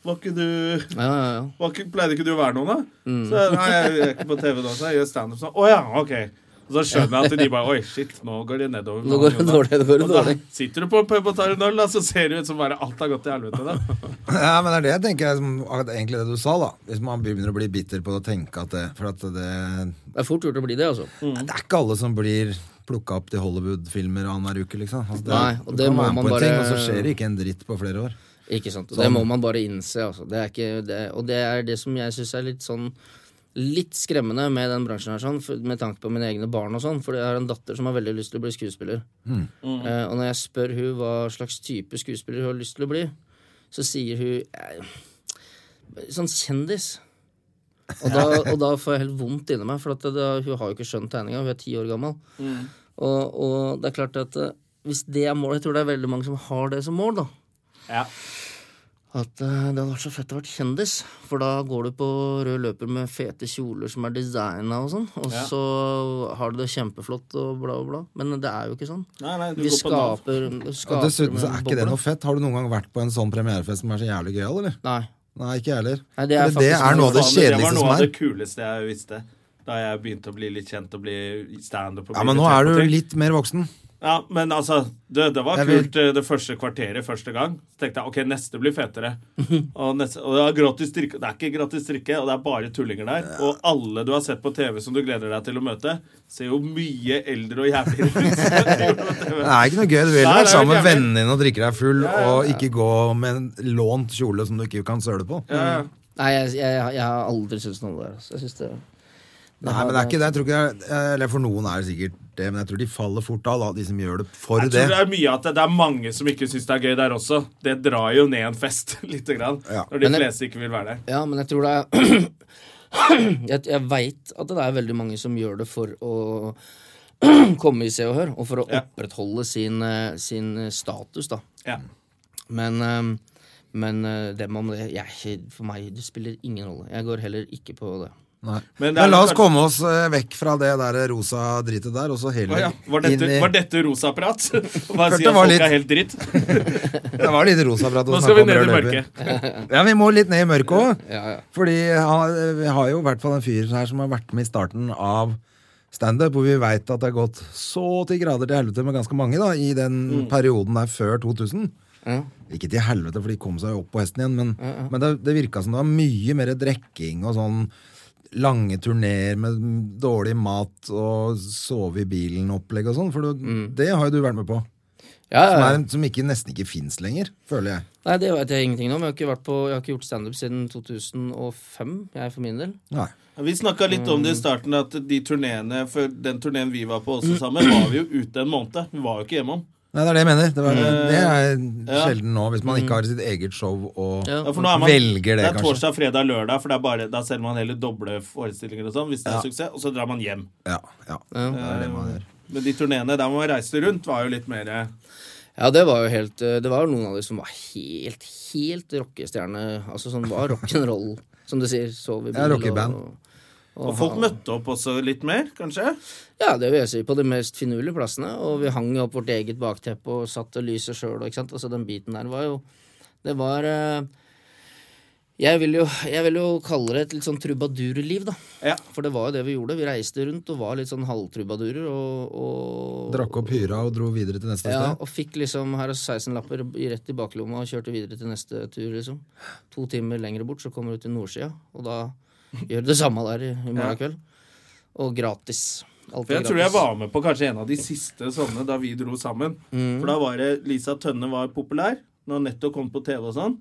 Var ikke du Ja, ja, ja. var ikke, Pleide ikke du å være noen, da? Mm. Så nei, jeg er ikke på TV nå, så jeg gjør standup sånn. Å ja, OK. Og så skjønner jeg at de bare Oi, shit, nå går det nedover. med Nå går det han, Jonas." dårlig. Nå går det Og da dårlig. sitter du på en pub og tar en øl, da, så ser det ut som bare alt har gått til helvete. da (laughs) (laughs) Ja, men det er det jeg tenker er som, akkurat egentlig det du sa, da. Hvis man begynner å bli bitter på å tenke at det For at det Det er fort gjort å bli det, altså. Det er ikke alle som blir plukka opp til Hollywood-filmer annenhver uke, liksom. Altså, det, Nei, er- og du det kan må være med man på en bare- ting, og så skjer det ikke en dritt på flere år. Ikke sant. Og Sånn. det må man bare innse, altså. Det er ikke, det, og det er det som jeg syns er litt sånn Litt skremmende med den bransjen her, sånn, for, med tanke på mine egne barn og sånn, for jeg har en datter som har veldig lyst til å bli skuespiller. Eh, og når jeg spør hun hva slags type skuespiller hun har lyst til å bli, så sier hun eh, sånn kjendis. Og da, og da får jeg helt vondt inni meg, for at det, hun har jo ikke skjønt tegninga. Hun er ti år gammel. Og, og det er klart at eh, hvis det er målet Jeg tror det er veldig mange som har det som mål, da Ja. at eh, det hadde vært så fett å vært kjendis. For da går du på rød løper med fete kjoler som er designa og sånn, og Ja. så har du det kjempeflott og bla, bla, bla. Men det er jo ikke sånn. Nei, nei, du Vi går på Nav. skaper, Og skaper dessuten med så er ikke det boble. noe fett. Har du noen gang vært på en sånn premierefest som er så jævlig gøyal, eller? Nei. Nei, ikke jeg heller. Nei, det er Men det faktisk er noe av det Faen, kjedeligste var noe som av det er. kuleste jeg visste. Da jeg begynte å bli litt kjent og bli standup. og Ja, bli men nå irritert er på du ting. litt mer voksen. Ja, men altså, det, det var Jeg vil- kult eh, det første kvarteret første gang. Så tenkte jeg ok, neste blir fetere. (laughs) Og, neste, og det, er gratis drikke, det er ikke gratis drikke, og det er bare tullinger der. Og alle du har sett på TV som du gleder deg til å møte, ser jo mye eldre og (laughs) jævligere ut. (laughs) enn de gjorde på TV. Det er ikke noe gøy. Du vil Nei, være det er sammen jo med jævlig. vennene dine og drikke deg full, og ikke gå med en lånt kjole som du ikke kan søle på. Ja, ja. Nei, jeg, jeg, jeg har aldri syntes noe om det der. altså. Jeg synes det, det Nei, har- men det er ikke det. Jeg tror ikke det er, eller for noen er det sikkert det, men jeg tror de faller fort av, da, de som gjør det for Jeg tror det det. er mye at det, det er mange som ikke syns det er gøy der også. Det drar jo ned en fest, (laughs) lite grann. Ja. Når de Men det- fleste ikke vil være der. Ja, men jeg tror det er (clears throat) Jeg, jeg veit at det er veldig mange som gjør det for å (clears throat) komme i Se og Hør, og for å Ja. opprettholde sin, eh, sin status, da. Ja. Men, eh, men eh, dem om det jeg, For meg det spiller ingen rolle. Jeg går heller ikke på det. Nei. Men det er Men la jo oss kanskje- komme oss eh, vekk fra det der rosa dritet der, og så Å heller ja. Var dette, inn i var dette (laughs) rosaprat? Bare Følte si at det var folk litt- er helt dritt. Det var litt rosa prat. å Nå snakke skal vi om ned rød i løper. mørket. Ja, vi må litt ned i mørket òg. Ja, ja. Fordi han, vi har jo i hvert fall en fyr her som har vært med i starten av standup, hvor vi veit at det har gått så til grader til helvete med ganske mange da, i den Mm. perioden der før 2000. Ikke til helvete, for de kom seg jo opp på hesten igjen, men, men det, det virka som det var mye mer drikking og sånn lange turneer med dårlig mat og sove i bilen-opplegg og sånn, for du, Mm. det har jo du vært med på. Ja, Som, ja. er, en- som ikke, nesten ikke fins lenger, føler jeg. Nei, det vet jeg ingenting om. Jeg har ikke, vært på, jeg har ikke gjort standup siden 2005, jeg for min del. Nei. Vi snakka litt om det i starten, at de turneene for den turneen vi var på også sammen, var vi jo ute en måned. Vi var jo ikke hjemom. Nei, det er det jeg mener. Det, var, det er ja. sjelden nå, hvis man ikke har sitt eget show og Ja. Ja, for nå er man, Velger det, det er kanskje. torsdag, fredag, lørdag, for det er bare, da selger man heller doble forestillinger og sånn, hvis det er suksess, og så drar man hjem. Eh, Ja, ja. Det er det man gjør. Men de turneene der man reiste rundt, var jo litt mer Ja, det var jo helt eh, Det var jo noen av de som var helt, helt rockestjerne. Altså som var rock'n'roll, som du sier. Sov i bil. Ja, rockeband. Og, Og folk møtte opp også litt mer, kanskje? ja, det vil jeg si. På de mest finurlige plassene. Og vi hang jo opp vårt eget bakteppe og satt og lyset sjøl og ikke sant. Altså den biten der var jo Det var eh, jeg vil, jo, jeg vil jo kalle det et litt sånn trubadurliv, da. Ja. For det var jo det vi gjorde. Vi reiste rundt og var litt sånn halvtrubadurer og, og Drakk opp hyra og dro videre til neste Ja, sted. og fikk liksom her og 16-lapper i- rett i baklomma og kjørte videre til neste tur, liksom. To timer lenger bort, så kommer du til nordsida, og da gjør du det samme der i, i morgen kveld. Og gratis. Alt For er jeg gratis. tror jeg var med på kanskje en av de siste sånne da vi dro sammen. Mm. For da var det Lisa Tønne var populær, når hun nettopp kom på TV og sånn.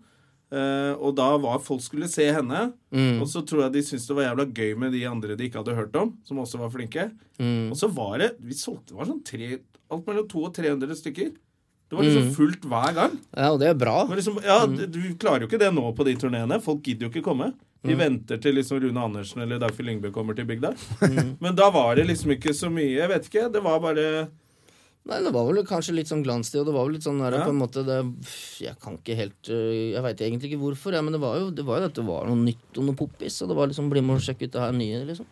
Eh, og da var folk skulle se henne. Mm. Og så tror jeg de syntes det var jævla gøy med de andre de ikke hadde hørt om, som også var flinke. Mm. Og så var det Vi solgte det var sånn tre, alt mellom 200 og 300 stykker. Det var Mm. liksom fullt hver gang. Ja, og det er bra. Det var liksom, ja, Mm. d- Du klarer jo ikke det nå på de turneene. Folk gidder jo ikke komme. Mm. De venter til liksom Rune Andersen eller Dagfjell Lyngbø kommer til bygda. Mm. (laughs) Men da var det liksom ikke så mye. Jeg vet ikke. Det var bare Nei, det var vel kanskje litt sånn glanstid, og det var vel litt sånn der, på en måte det, Jeg kan ikke helt øh, Jeg veit egentlig ikke hvorfor, ja, men det var jo det var jo at det var noe nytt og noe poppis, og det var liksom bli med og sjekke ut det her nye, liksom.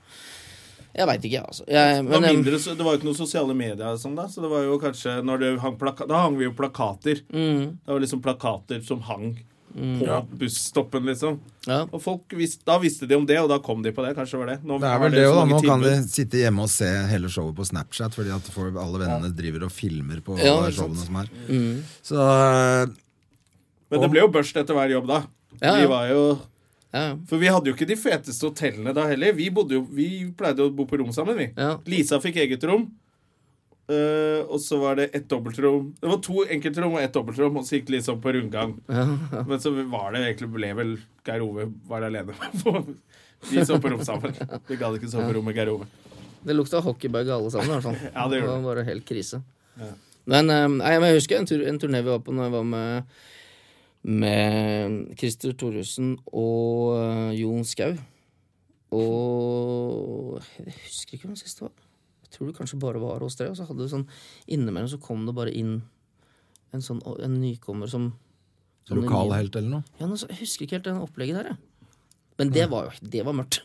Jeg veit ikke, jeg, altså. Jeg, det var, men, em, mindre, så- det var jo ikke noen sosiale medier og sånn da, så det var jo kanskje når det hang plaka Da hang vi jo plakater. Mm. Det var liksom plakater som hang på busstoppen, liksom. ja. Og folk visste, da visste de om det, og da kom de på det. Kanskje det var det. Nå Det har er vel det så jo da, mange Nå kan de tilbud. sitte hjemme og se hele showet på Snapchat, fordi at for alle vennene driver og filmer på Ja, alle ikke sant. showene som er. Så øh, Men det ble jo børst etter hver jobb, da. Ja, Vi ja. var jo ja, ja. For vi hadde jo ikke de feteste hotellene da heller. Vi, bodde jo, vi pleide å bo på rom sammen, vi. Ja. Lisa fikk eget rom. eh, og så var det ett dobbeltrom. Det var to enkeltrom og ett dobbeltrom, og så gikk det liksom på rundgang. Men så var det egentlig ble vel Geir Ove var alene (laughs) på Vi sov på rom sammen. Vi gadd ikke sove på rom med Geir Ove. Det lukta hockeybag alle sammen, i hvert fall. (laughs) Ja, det gjorde var det. bare helt krise. Men, eh, nei, men jeg husker en, tur, en turné vi var på når jeg var med med Christer Thoresen og eh, Jon Skau. Og jeg husker ikke hvem den siste var. Jeg tror det kanskje bare var hos dere. Og så hadde du sånn innimellom så kom det bare inn en sånn en nykommer som som en ny- Lokalhelt eller noe. (laughs) Ja, nå så- Jeg husker ikke helt det opplegget der, jeg. Men det var jo det var mørkt.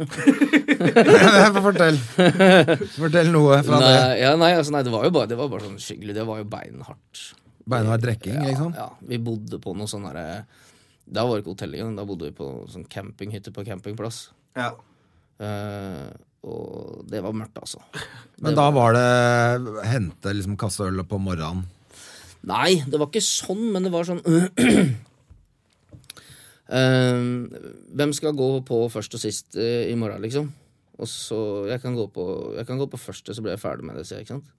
Fortell Fortell noe fra det. Nei, ja, nei, altså, nei, det var jo bare, det var bare sånn skikkelig Det var jo beinhardt. Beinhard drikking, liksom. Ja, vi bodde på noe sånn herre Da var det ikke hotell engang. Da bodde vi på sånn campinghytte på campingplass. Ja. Eh, Og det var mørkt, altså. Men da var det hente liksom kasseøl på morgenen. Nei, det var ikke sånn, men det var sånn (clears throat) Ehm, Hvem skal gå på først og sist eh, i morgen, liksom? Og så, jeg kan, gå på, jeg kan gå på første, så blir jeg ferdig med det, sier jeg. ikke sant?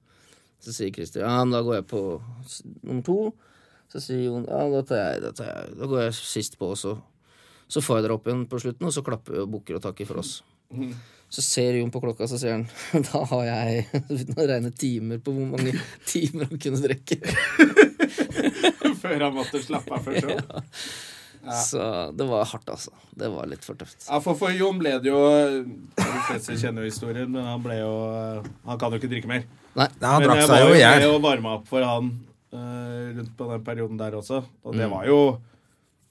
Så sier Christer ja, men da går jeg på s- nummer to. Så sier Jon ja, da, tar jeg, da, tar jeg. da går jeg sist på også. Så får jeg dere opp igjen på slutten, og så klapper vi og bukker og takker for oss. Så ser Jon på klokka, så sier han (laughs) da har jeg Uten å regne timer på hvor mange (laughs) timer han kunne drikke. (laughs) Før han måtte slappe av før show. Så det var hardt, altså. Det var litt for tøft. Ja, for, for Jon ble det jo eh, De fleste kjenner jo historien, men han ble jo eh, Han kan jo ikke drikke mer. Nei, Nei, han men drakk jeg seg var jo i hjel. med og varma opp for han eh, rundt på den perioden der også. Og Mm. det var jo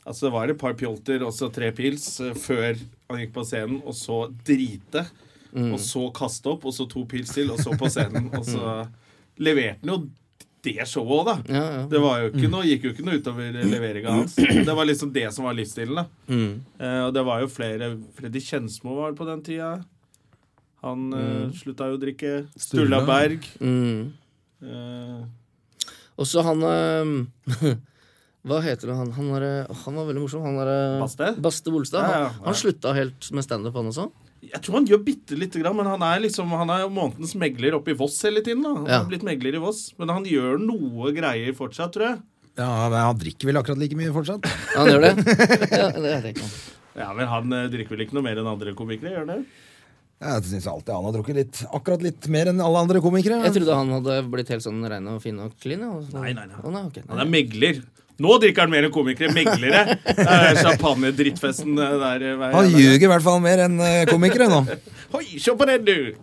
Altså, det var et par pjolter, og så tre pils, eh, før han gikk på scenen, og så drite. Mm. Og så kaste opp, og så to pils til, og så på scenen. Og så Mm. leverte han jo det showet òg, da. Ja, ja. Det var jo Mm. ikke noe, gikk jo ikke noe utover leveringa hans. Det var liksom det som var livsstilen. da Mm. eh, Og det var jo flere Freddy Kjensmo var på den tida. Han eh, slutta jo å drikke. Sturla Mm. Sturla. Berg. Mm. Eh, Og så han eh, (laughs) Hva heter han? Han, er, eh, han var veldig morsom. Han er, eh, Baste? Baste Bolstad. Ja, ja, Han, ja. han slutta helt med standup, han også. jeg tror han gjør bitte lite grann, men han er liksom Han er jo månedens megler oppe i Voss hele tiden. da Han Ja. har blitt megler i Voss Men han gjør noe greier fortsatt, tror jeg. Ja, men han drikker vel akkurat like mye fortsatt. Han (laughs) gjør det? Ja, det vet jeg ikke. Ja, men Han eh, drikker vel ikke noe mer enn andre komikere? gjør han det? Jeg syns alltid han har drukket litt, akkurat litt mer enn alle andre komikere. Jeg trodde han hadde blitt helt sånn rein og fin og clean. Ja. og- Nei, nei, nei. Å, nei, ok. Han er megler. Nå drikker han mer enn komikere. Meglere. (laughs) Det er Champagne-drittfesten eh, der. eh, hver- Han ljuger i hvert fall mer enn eh, komikere nå. (laughs) Oi, se på den, du!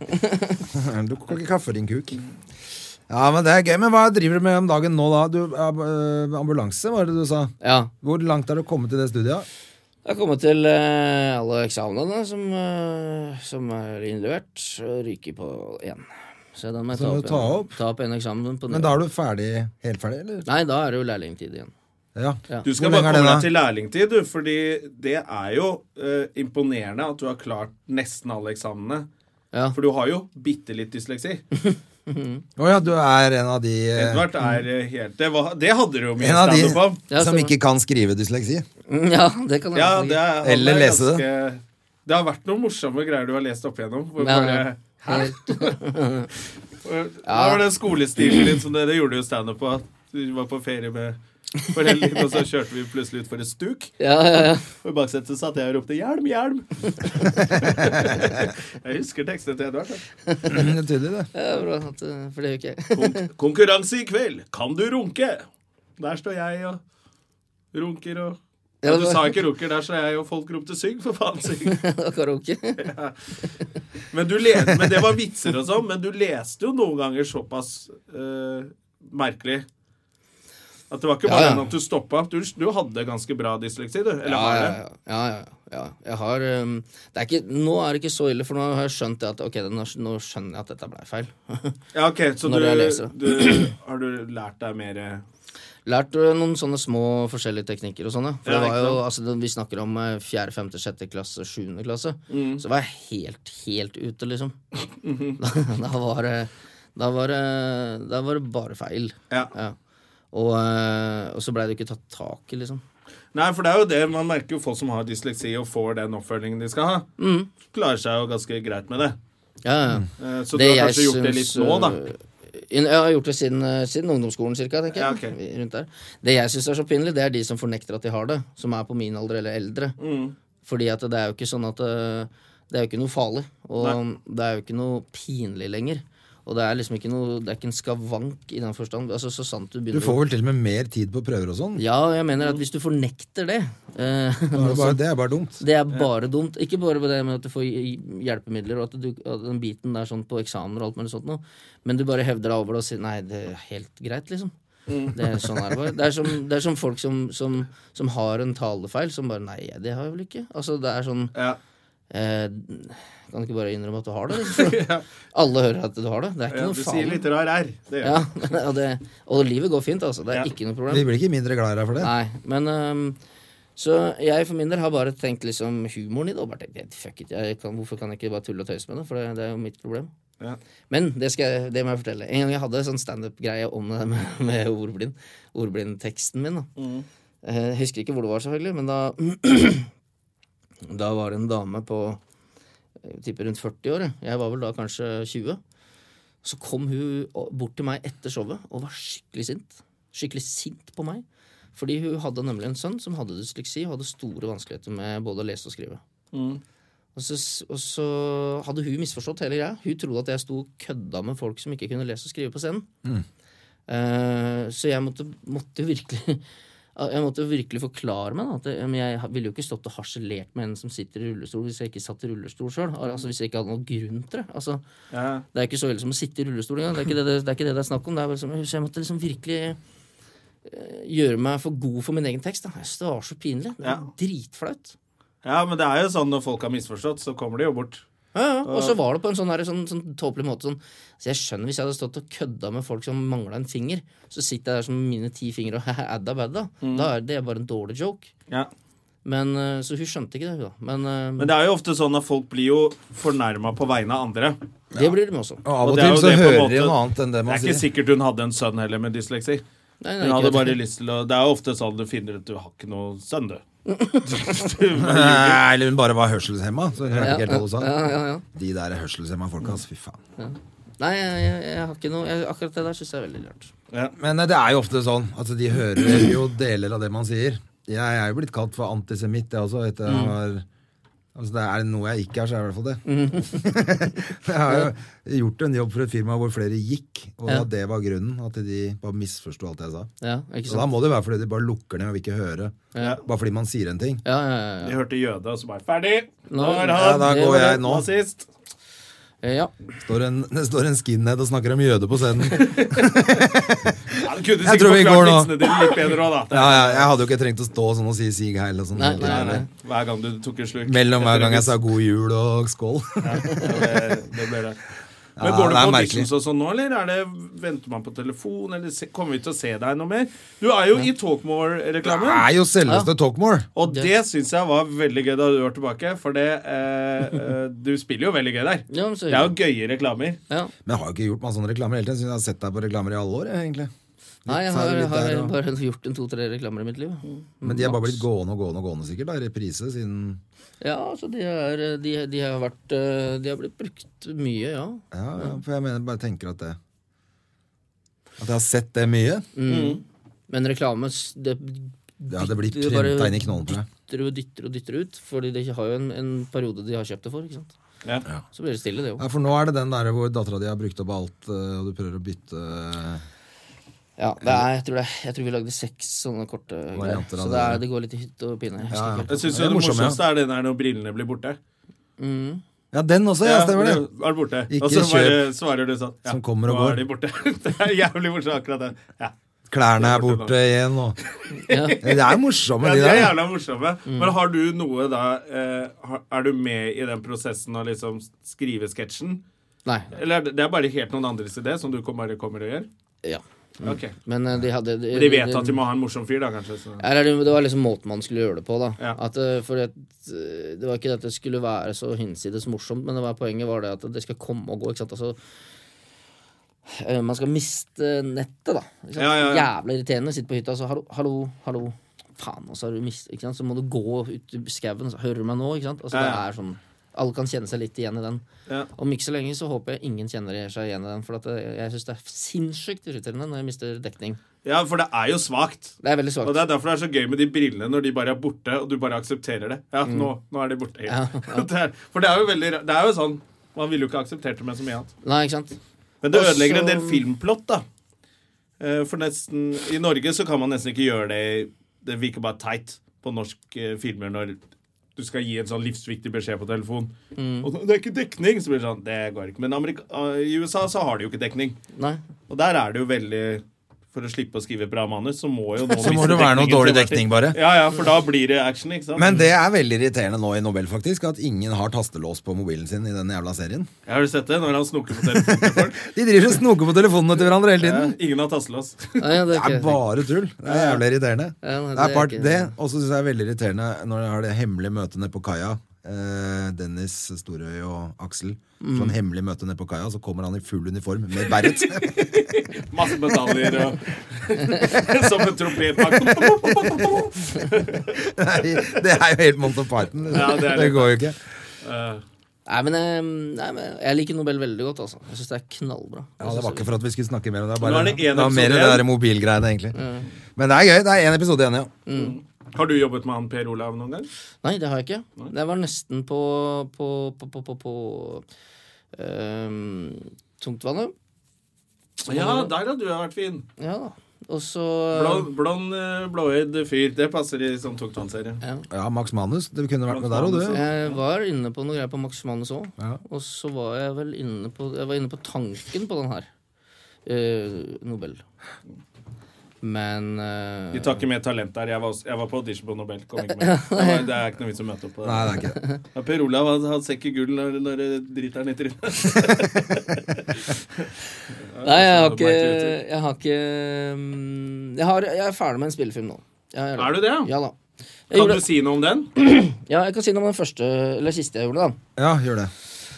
Du koker ikke kaffe, din kuk. Ja, men det er gøy. Men hva driver du med om dagen nå, da? Du, ab- eh, ambulanse, var det du sa? Ja. Hvor langt er du kommet i det studiet? Jeg har kommet til eh, alle eksamenene som, eh, som er innlevert, og ryker på én. Så da må jeg ta opp, Så må du ta en- opp? ta opp en eksamen på Men nytt. da er du ferdig, helt ferdig, eller? Nei, da er det jo lærlingtid igjen. Ja. Ja. Du skal Hvor bare lenge er komme det, deg da? til lærlingtid, du, fordi det er jo eh, imponerende at du har klart nesten alle eksamenene. Ja. For du har jo bitte litt dysleksi. Å ja, du er en av de eh, Edvard er eh, helt Det, var, det hadde du jo mye En av de standup om. Ja, som stemmer. ikke kan skrive dysleksi. Mm, (laughs) ja, det kan jeg Ja, nesten det er, han Eller er lese det. ganske- Det har vært noen morsomme greier du har lest opp igjennom. Hvor Ja, bare, ja. ikke. Helt- Hva var den skolestilen din som dere gjorde jo standup på? at Du var på ferie med foreldrene, og så kjørte vi plutselig utfor et stuk. Ja, ja, ja. Og i baksetet satt jeg og ropte 'hjelm, hjelm'. (laughs) jeg husker tekstene til Edvard. da. Mm, det er tydelig, det. ja bra, at, eh, for det gjør ikke (laughs) jeg. Kon konkurranse i kveld. Kan du runke? Der står jeg og runker og Ja, ja, Du det- sa ikke runker, der står jeg og folk ropte 'syng', for faen. syng Det var Karaoke. Men, du le- men det var vitser og sånn, men du leste jo noen ganger såpass eh, merkelig. At det var ikke bare Ja, ja. den at du stoppa. Du, du hadde ganske bra dysleksi, du. Eller Ja, har ja, det. ja. ja, ja, ja. Jeg har um, det er ikke, Nå er det ikke så ille, for nå har jeg skjønt det at ok, det- nå, nå skjønner jeg at dette blei feil. (laughs) Ja, ok, Så du, Når jeg leser. du Har du lært deg mer eh, Lært eh, noen sånne små forskjellige teknikker og sånne. For Ja, det var ikke jo, altså, det- vi snakker om eh, fjerde, femte, sjette klasse, sjuende klasse. Mm. Så var jeg helt, helt ute, (laughs) liksom. (laughs) da, da var det da var, det- da var det bare feil. Ja. Og, eh, og så blei det jo ikke tatt tak i, liksom. Nei, for det er jo det man merker jo folk som har dysleksi og får den oppfølgingen de skal ha. Mm. Klarer seg jo ganske greit med det. Ja, ja. Eh, Så du har kanskje gjort det litt nå, da. øh, inn- Jeg har gjort det siden, øh, siden ungdomsskolen, cirka, tenker jeg. Ja, ok. Vi- Rundt der. Det jeg syns er så pinlig, det er de som fornekter at de har det. Som er på min alder eller eldre. Mm. Fordi at det er jo ikke sånn at øh, Det er jo ikke noe farlig. Og det er jo ikke noe pinlig lenger. Og det er liksom ikke noe Det er ikke en skavank i den forstand. Altså, så sant du Du begynner får vel til og med mer tid på prøver og sånn. Ja, jeg mener at hvis du fornekter det øh, (laughs) Da er Det, bare- det er bare dumt. det er bare dumt. Ikke bare det med at du får hjelpemidler, og at, du, at den biten der sånn på eksamener og alt mulig sånt noe, men du bare hevder deg over det og sier nei, det er helt greit, liksom. Mm. Det, er sånn er det, bare. det er som, det er som folk som, som, som har en talefeil, som bare Nei, det har jeg vel ikke. Altså, det er sånn Ja. eh, Kan du ikke bare innrømme at du har det? (laughs) Liksom? Alle hører at du har det. Det er ikke Ja, du noe sier faen. litt rar R. Det gjør Ja, (laughs) du. og, det, og livet går fint, altså. Det er Ja. ikke noe Vi problem. blir ikke mindre glad i deg for det. Nei, men øhm, ehm, Så jeg for min del har bare tenkt liksom humoren i det. Og bare tenkt, "Yeah, fuck it, jeg kan, Hvorfor kan jeg ikke bare tulle og tøyse med det? For det, det er jo mitt problem. Ja. Men det, skal jeg, det må jeg fortelle. En gang jeg hadde sånn standup-greie om det med, (laughs) med ordblind. Ordblindteksten min. da Eh, Jeg husker ikke hvor det var, selvfølgelig, men da (clears throat) Da var det en dame på jeg tipper rundt 40 år. jeg. Jeg var vel da kanskje 20. Så kom hun o- bort til meg etter showet og var skikkelig sint. Skikkelig sint på meg. Fordi hun hadde nemlig en sønn som hadde dysleksi og hadde store vanskeligheter med både å lese og skrive. Og, så, s- og så hadde hun misforstått hele greia. Hun trodde at jeg sto og kødda med folk som ikke kunne lese og skrive på scenen. Eh, så jeg måtte, måtte jo virkelig (laughs) jeg måtte jo virkelig forklare meg da, at jeg, men jeg ville jo ikke stått og harselert med en som sitter i rullestol hvis jeg ikke satt i rullestol sjøl. Altså, hvis jeg ikke hadde noen grunn til det. Altså, Ja. det er ikke så ille som å sitte i rullestol engang. Det er ikke det det, det, er, ikke det det er snakk om. Det er bare som, så jeg måtte liksom virkelig eh, gjøre meg for god for min egen tekst. Da. Jeg synes det var så pinlig. Det var Ja. Dritflaut. ja, men det er jo sånn når folk har misforstått, så kommer de jo bort. Ja, ja. Og så var det på en sånn, her, sånn, sånn tåpelig måte. Sånn. Så jeg skjønner hvis jeg hadde stått og kødda med folk som mangla en finger, så sitter jeg der som mine ti fingre og (laughs) adda badda. Mm. Da er det bare en dårlig joke. Ja. Men, eh, så hun skjønte ikke det, hun da. Men, eh, Men det er jo ofte sånn at folk blir jo fornærma på vegne av andre. det blir de også. Og av Og og, det er til jo så det på en hører måte- de noe annet enn det Det man er ikke sier. sikkert hun hadde en sønn heller med dysleksi. Nei, nei, Hun ikke hadde det. bare lyst til å Det er jo ofte sånn du finner ut du har ikke noe sønn, du. Nei, eller hun bare var hørselshemma. Så hørte Ja, ikke helt hva du sa. ja, ja, ja. De der hørselshemma folka, altså. Fy faen. Nei, jeg, jeg, jeg har ikke noe jeg, Akkurat det der syns jeg er veldig rart. Men eh, det er jo ofte sånn. Altså, de hører jo deler av det man sier. Jeg er jo blitt kalt for antisemitt, jeg også. Etter Mm. jeg har Altså, det er det noe jeg ikke er, så er det i hvert fall det. Mm. (laughs) jeg har jo gjort en jobb for et firma hvor flere gikk, og Ja. at det var grunnen. At de bare misforsto alt jeg sa. Ja, ikke Så da sant? må det være fordi de bare lukker ned og vil ikke høre. Ja. Bare fordi man sier en ting. Ja, ja, ja, De hørte jøde, og så bare Ferdig! Nå Nå- er Ja, han da det går var jeg nå. nazist. ja. ja. Står en, det står en skinhead og snakker om jøde på scenen. Ja, du kunne sikkert Jeg tror vi går forklart nå. vitsene dine litt bedre òg, da. Ja, ja, jeg hadde jo ikke trengt å stå sånn og si Sig Heil og sånn. Nei, nei, nei. Hver gang du tok en slurk. Mellom hver gang jeg sa god jul og skål. Ja, det, det ble det. Men Ja, Går du det på er auditions og sånn nå, eller er det, venter man på telefon? Eller se- kommer vi til å se deg noe mer? Du er jo i (laughs) Det Talkmore-reklamen. er jo selveste Talkmore. Og det syns jeg var veldig gøy da du var tilbake, for det eh, eh, Du spiller jo veldig gøy der. Ja, men så Det er jo gøye reklamer. ja. Men jeg har jo ikke gjort masse sånne reklamer hele tiden. Synes jeg har sett deg på reklamer i alle år, jeg, egentlig. Litt Nei, jeg her og har, litt har der, og- bare (laughs) gjort en to-tre reklamer i mitt liv. Mm. Men de har bare Maks. blitt gående og gående og gående, sikkert. da, I reprise siden Ja, altså de, er, de, de har vært eh, De har blitt brukt mye, ja. Ja, ja for jeg mener, bare tenker at det At jeg har sett det mye. Mm. Mm. Men reklame s- det Ja, det blir dytter jo bare- printa inn i knollen på deg. dytter og dytter og dytter ut. Fordi de har jo en, en periode de har kjøpt det for. ikke sant? Ja. Så blir det stille, det òg. Ja, for nå er det den der hvor dattera di har brukt opp alt, eh, og du prøver å bytte eh, Ja, det er, jeg, tror det, er- jeg tror vi lagde seks sånne korte greier. Varianter av Så det, er, det. det går litt i hytt og pine. Jeg husker Ja, ja. ikke helt. Jeg syns Det jo er det morsomt, ja. morsomste er det der når brillene blir borte. Ja, den også, ja, stemmer det. Er borte. Ikke Og så bare kjøp svarer du sånn. Ja, som kommer og nå går. er de borte. (laughs) det er jævlig morsomt, akkurat det. Ja. Klærne er borte nå. borte igjen, og (laughs) Ja. De er morsomme, Ja, de de er der. jævla morsomme. Men har du noe da eh, har- Er du med i den prosessen å liksom skrive sketsjen? Nei. Eller er det, det er bare helt noen andres idé, som du kom- bare kommer og gjør? Ja. Ok. Men eh, de hadde de, De vet at de må ha en morsom fyr, da, kanskje. Så. Her er det, det var liksom måten man skulle gjøre det på. da Ja. at, eh, fordi at, eh, Det var ikke det at det skulle være så hinsides morsomt, men det var, poenget var det at det skal komme og gå. Ikke sant? Altså, eh, man skal miste nettet, da. Ikke sant? Ja, ja, ja. Jævla irriterende. Sitte på hytta og så hallo, hallo, hallo. Faen, og så har du mist, ikke sant? Så må du gå ut i skauen. så Hører du meg nå? Ikke sant? Altså, Ja, Det ja. er sånn alle kan kjenne seg litt igjen i den. Ja. Om ikke så lenge så håper jeg ingen kjenner seg igjen i den. For at jeg, jeg syns det er sinnssykt irriterende når jeg mister dekning. Ja, for det er jo svakt. Det er veldig svakt. Og Det er derfor det er så gøy med de brillene når de bare er borte, og du bare aksepterer det. Ja, nå, nå er de borte. (laughs) det er, for det er jo veldig ra- Det er jo sånn Man ville jo ikke akseptert det med så mye annet. Nei, ikke sant? Men det Og ødelegger en så- del filmplott, da. Eh, For nesten I Norge så kan man nesten ikke gjøre det Det virker bare teit på norske filmer når du skal gi en sånn livsviktig beskjed på telefon. Mm. Og så, 'Det er ikke dekning!' Så blir det sånn. eh, Det går ikke. Men Amerika, i USA så har de jo ikke dekning. Nei. Og der er det jo veldig for å slippe å skrive et bra manus, så må jo nå (laughs) Så må miste det være noe dekningen dårlig til hver tid. dekning, bare. Ja, ja, for da blir det action, ikke sant? Men det er veldig irriterende nå i Nobel, faktisk, at ingen har tastelås på mobilen sin i den jævla serien. Har du sett det? Når han snoker på telefonen til (laughs) folk. De driver og snoker på telefonene til hverandre hele Ja, tiden. ingen har tasselås. Nei, det Det er er ikke- bare tull. Det er jævlig irriterende. Ja, men det Det er er part ikke- det, og så syns jeg det er veldig irriterende når jeg har det hemmelige møtet nede på kaia. Eh, Dennis Storøy og Aksel. Mm. Sånn hemmelig møte nede på kaia, så kommer han i full uniform med (laughs) beret. Masse medaljer og (laughs) Som en trompetpakke. det er jo helt Monty Python. Ja, det er det litt- går jo ikke. Nei, men, eh, nei, men jeg liker Nobel veldig godt, altså. Jeg syns det er knallbra. Ja, det var ikke for at vi skulle snakke mer om det. Nå Bare, er det det, en var mer episode det igjen. der mobilgreiene, egentlig. Men det er gøy. Det er én episode igjen, ja. Har du jobbet med han Per Olav noen gang? Nei, det har jeg ikke. Det var nesten på på, på, på, på, på ehm, Tungtvannet. Ja, der hadde du vært fin. Ja da. Og så Blond, blond eh, blåøyd fyr. Det passer i sånn tungtvannsserie. ja. Max Manus. Du kunne vært med der òg, du. Jeg var inne på noe greier på Max Manus òg. Ja. Og så var jeg vel inne på Jeg var inne på tanken på den her. eh, Nobel. Men eh, Vi tar ikke med talent der. Jeg var, også, jeg var på audition på Nobel. Kom (laughs) ikke med. Det var- Det er ikke noe vits å møte opp på det. Nei, det er ikke det. Ja, per Olav han, han ser ikke gull når, når det driter han i (laughs) trynet. Nei, jeg har sånn ikke merkelig Jeg har ikke mm, jeg, har, jeg er ferdig med en spillefilm nå. Jeg Er du det? Ja da. Jeg Kan gjorde, du si noe om den? ja, jeg kan si noe om den første Eller siste jeg gjorde, da. Ja, gjør det.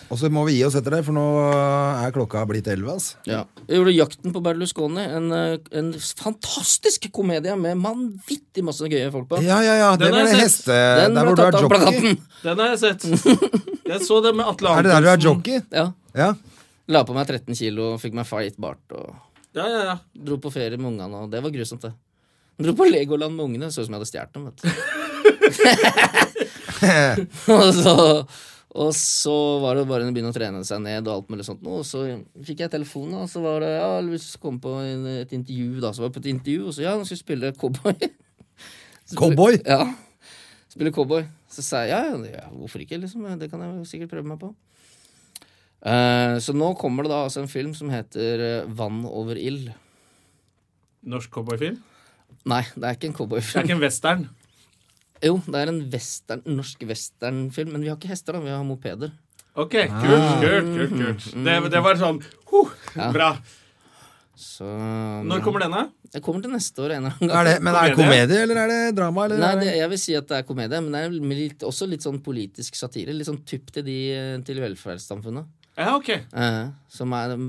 Og så må vi gi oss etter det, for nå er klokka blitt elleve, altså. Ja. Jeg gjorde 'Jakten på Berlusconi', en, eh, en fantastisk komedie med vanvittig masse gøye folk på. Ja, ja, ja. Det Den har var det jeg sett. heste... Der hvor du er jockey. plakaten. Den har jeg (laughs) sett. Jeg så det med Atle Er det der du er Antonsen. jockey? Ja. Ja. (laughs) La på meg 13 kilo, fikk meg fightbart og Ja, ja, ja. dro på ferie med ungene, og det var grusomt, det. Dro på Legoland med ungene, så ut som jeg hadde stjålet dem, vet du. (laughs) og, så, og så var det bare å begynne å trene seg ned og alt mulig sånt nå, og så fikk jeg telefonen, og så var det ja, hvis du kom på en, et intervju, da, så var jeg på et intervju, og så ja, nå skal vi spille cowboy. (laughs) Cowboy? Ja. Spille cowboy. Så sa jeg ja, ja, ja, hvorfor ikke, liksom. Det kan jeg jo sikkert prøve meg på. Eh, så nå kommer det da altså en film som heter eh, Vann over ild. Norsk cowboyfilm? Nei, det er ikke Det en er cowboyfilm. ikke en western. Jo, det er en western, norsk westernfilm, men vi har ikke hester, da. Vi har mopeder. Ok, kult, Ah. kult, kult. kult. Det, det var sånn huh, Bra. Så Når kommer denne? Jeg kommer til neste år en eller annen gang. Er det, men er det Komedie? komedie, eller er det drama? Eller Nei, er det, jeg vil si at det er komedie, men det er med litt, også litt sånn politisk satire. Litt sånn typ til, de, eh, til velferdssamfunnet. Ja, ok. eh, som er eh,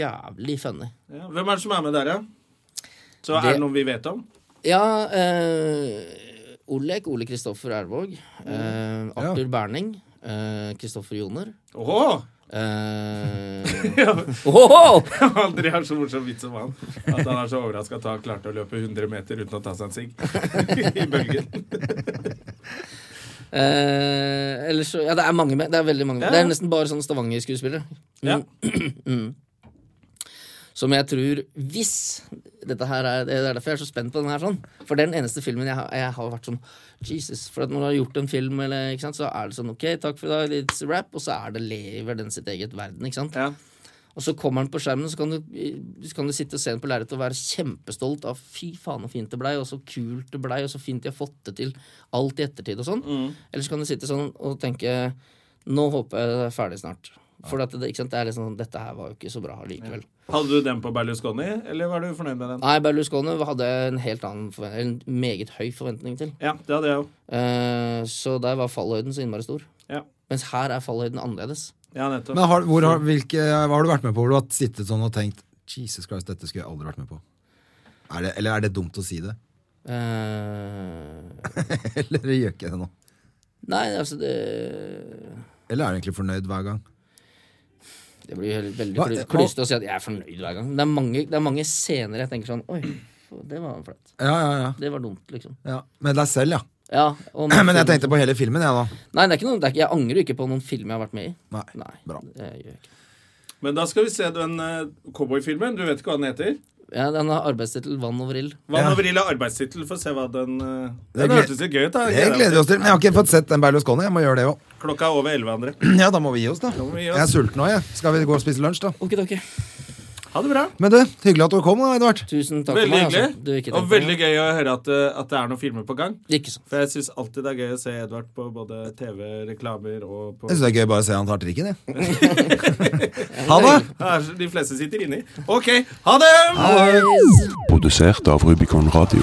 jævlig funny. Ja. Hvem er det som er med der, ja? Så er Det- det noe vi vet om? Ja, eh, Olek, Ole Kristoffer Ervåg. Eh, Arthur Berning. eh, Kristoffer Joner. Åhå! (laughs) Eh, Ja, Ohoho! Aldri har så morsom vits som han. At han er så overraska at han klarte å løpe 100 meter uten å ta seg en sigg (laughs) i bølgen. eh, ellers så Ja, det er mange med. Det er veldig mange med. Ja. Det er nesten bare sånne Stavanger-skuespillere. Ja. Som jeg tror Hvis dette her er, Det er derfor jeg er så spent på den her. sånn For det er den eneste filmen jeg har, jeg har vært sånn Jesus. For at når du har gjort en film, eller, ikke sant, så er det sånn OK, takk for i dag, it's a wrap. Og så er det lever den sitt eget verden. ikke sant? Ja. Og så kommer den på skjermen, så kan du, så kan du sitte og se den på lerretet og være kjempestolt av fy faen så fint det blei, og så kult det blei, og så fint de har fått det til. Alt i ettertid og sånn. Eller så kan du sitte sånn og tenke nå håper jeg det er ferdig snart. For at det, ikke sant, det er liksom, dette her var jo ikke så bra likevel. Hadde du den på Berlusconi, eller var du fornøyd med den? Nei, Berlusconi hadde jeg en helt annen forven- en meget høy forventning til. Ja, det hadde jeg òg. Eh, så der var fallhøyden så innmari stor. Ja. Mens her er fallhøyden annerledes. ja, nettopp. Men har, hvor har, hvilke, hva har du vært med på hvor du har sittet sånn og tenkt Jesus Christ, dette skulle jeg aldri vært med på? Er det, eller er det dumt å si det? (laughs) Eh, Eller gjør ikke det nå? nei, altså det Eller er du egentlig fornøyd hver gang? Det blir helt- veldig Hva- kly- hva- klyste å si at jeg er fornøyd hver gang. Det er mange, det er mange scener jeg tenker sånn Oi, det var flaut. Ja, ja, ja. Det var dumt, liksom. ja. Med deg selv, ja. Ja, (clears throat) og Men jeg tenkte på hele filmen, jeg, da. Nei, det er ikke noe, det er ikke, jeg angrer ikke på noen film jeg har vært med i. Nei, Nei, bra. det gjør jeg ikke. Men da skal vi se den eh, cowboyfilmen. Du vet ikke hva den heter? Ja, den har arbeidstittel 'Vann over ild'. Hva Ja. med Vrilla arbeidstittel? Få se hva den eh, Det Den gled- hørtes litt gøy ut, da. Det gleder vi oss til. Men jeg har ikke fått sett den Berlusconi. Jeg må gjøre det òg. Klokka er over 11, André. (clears throat) Ja, da må vi gi oss, da. må vi gi Jeg oss. er sulten òg, jeg. Skal vi gå og spise lunsj, da? Ok, ok. Ha det bra. Men du, hyggelig at du kom, da, Edvard. Tusen takk for Veldig meg. hyggelig. Altså. Du, ikke Og veldig gøy å høre at, eh, at det er noen filmer på gang. Ikke sånn. sant. For jeg syns alltid det er gøy å se Edvard på både TV, reklamer og på Jeg syns det er gøy bare å se han tar trikken, jeg. ha det! Ja, De fleste sitter inni. OK, ha det! Produsert av Rubicon Radio.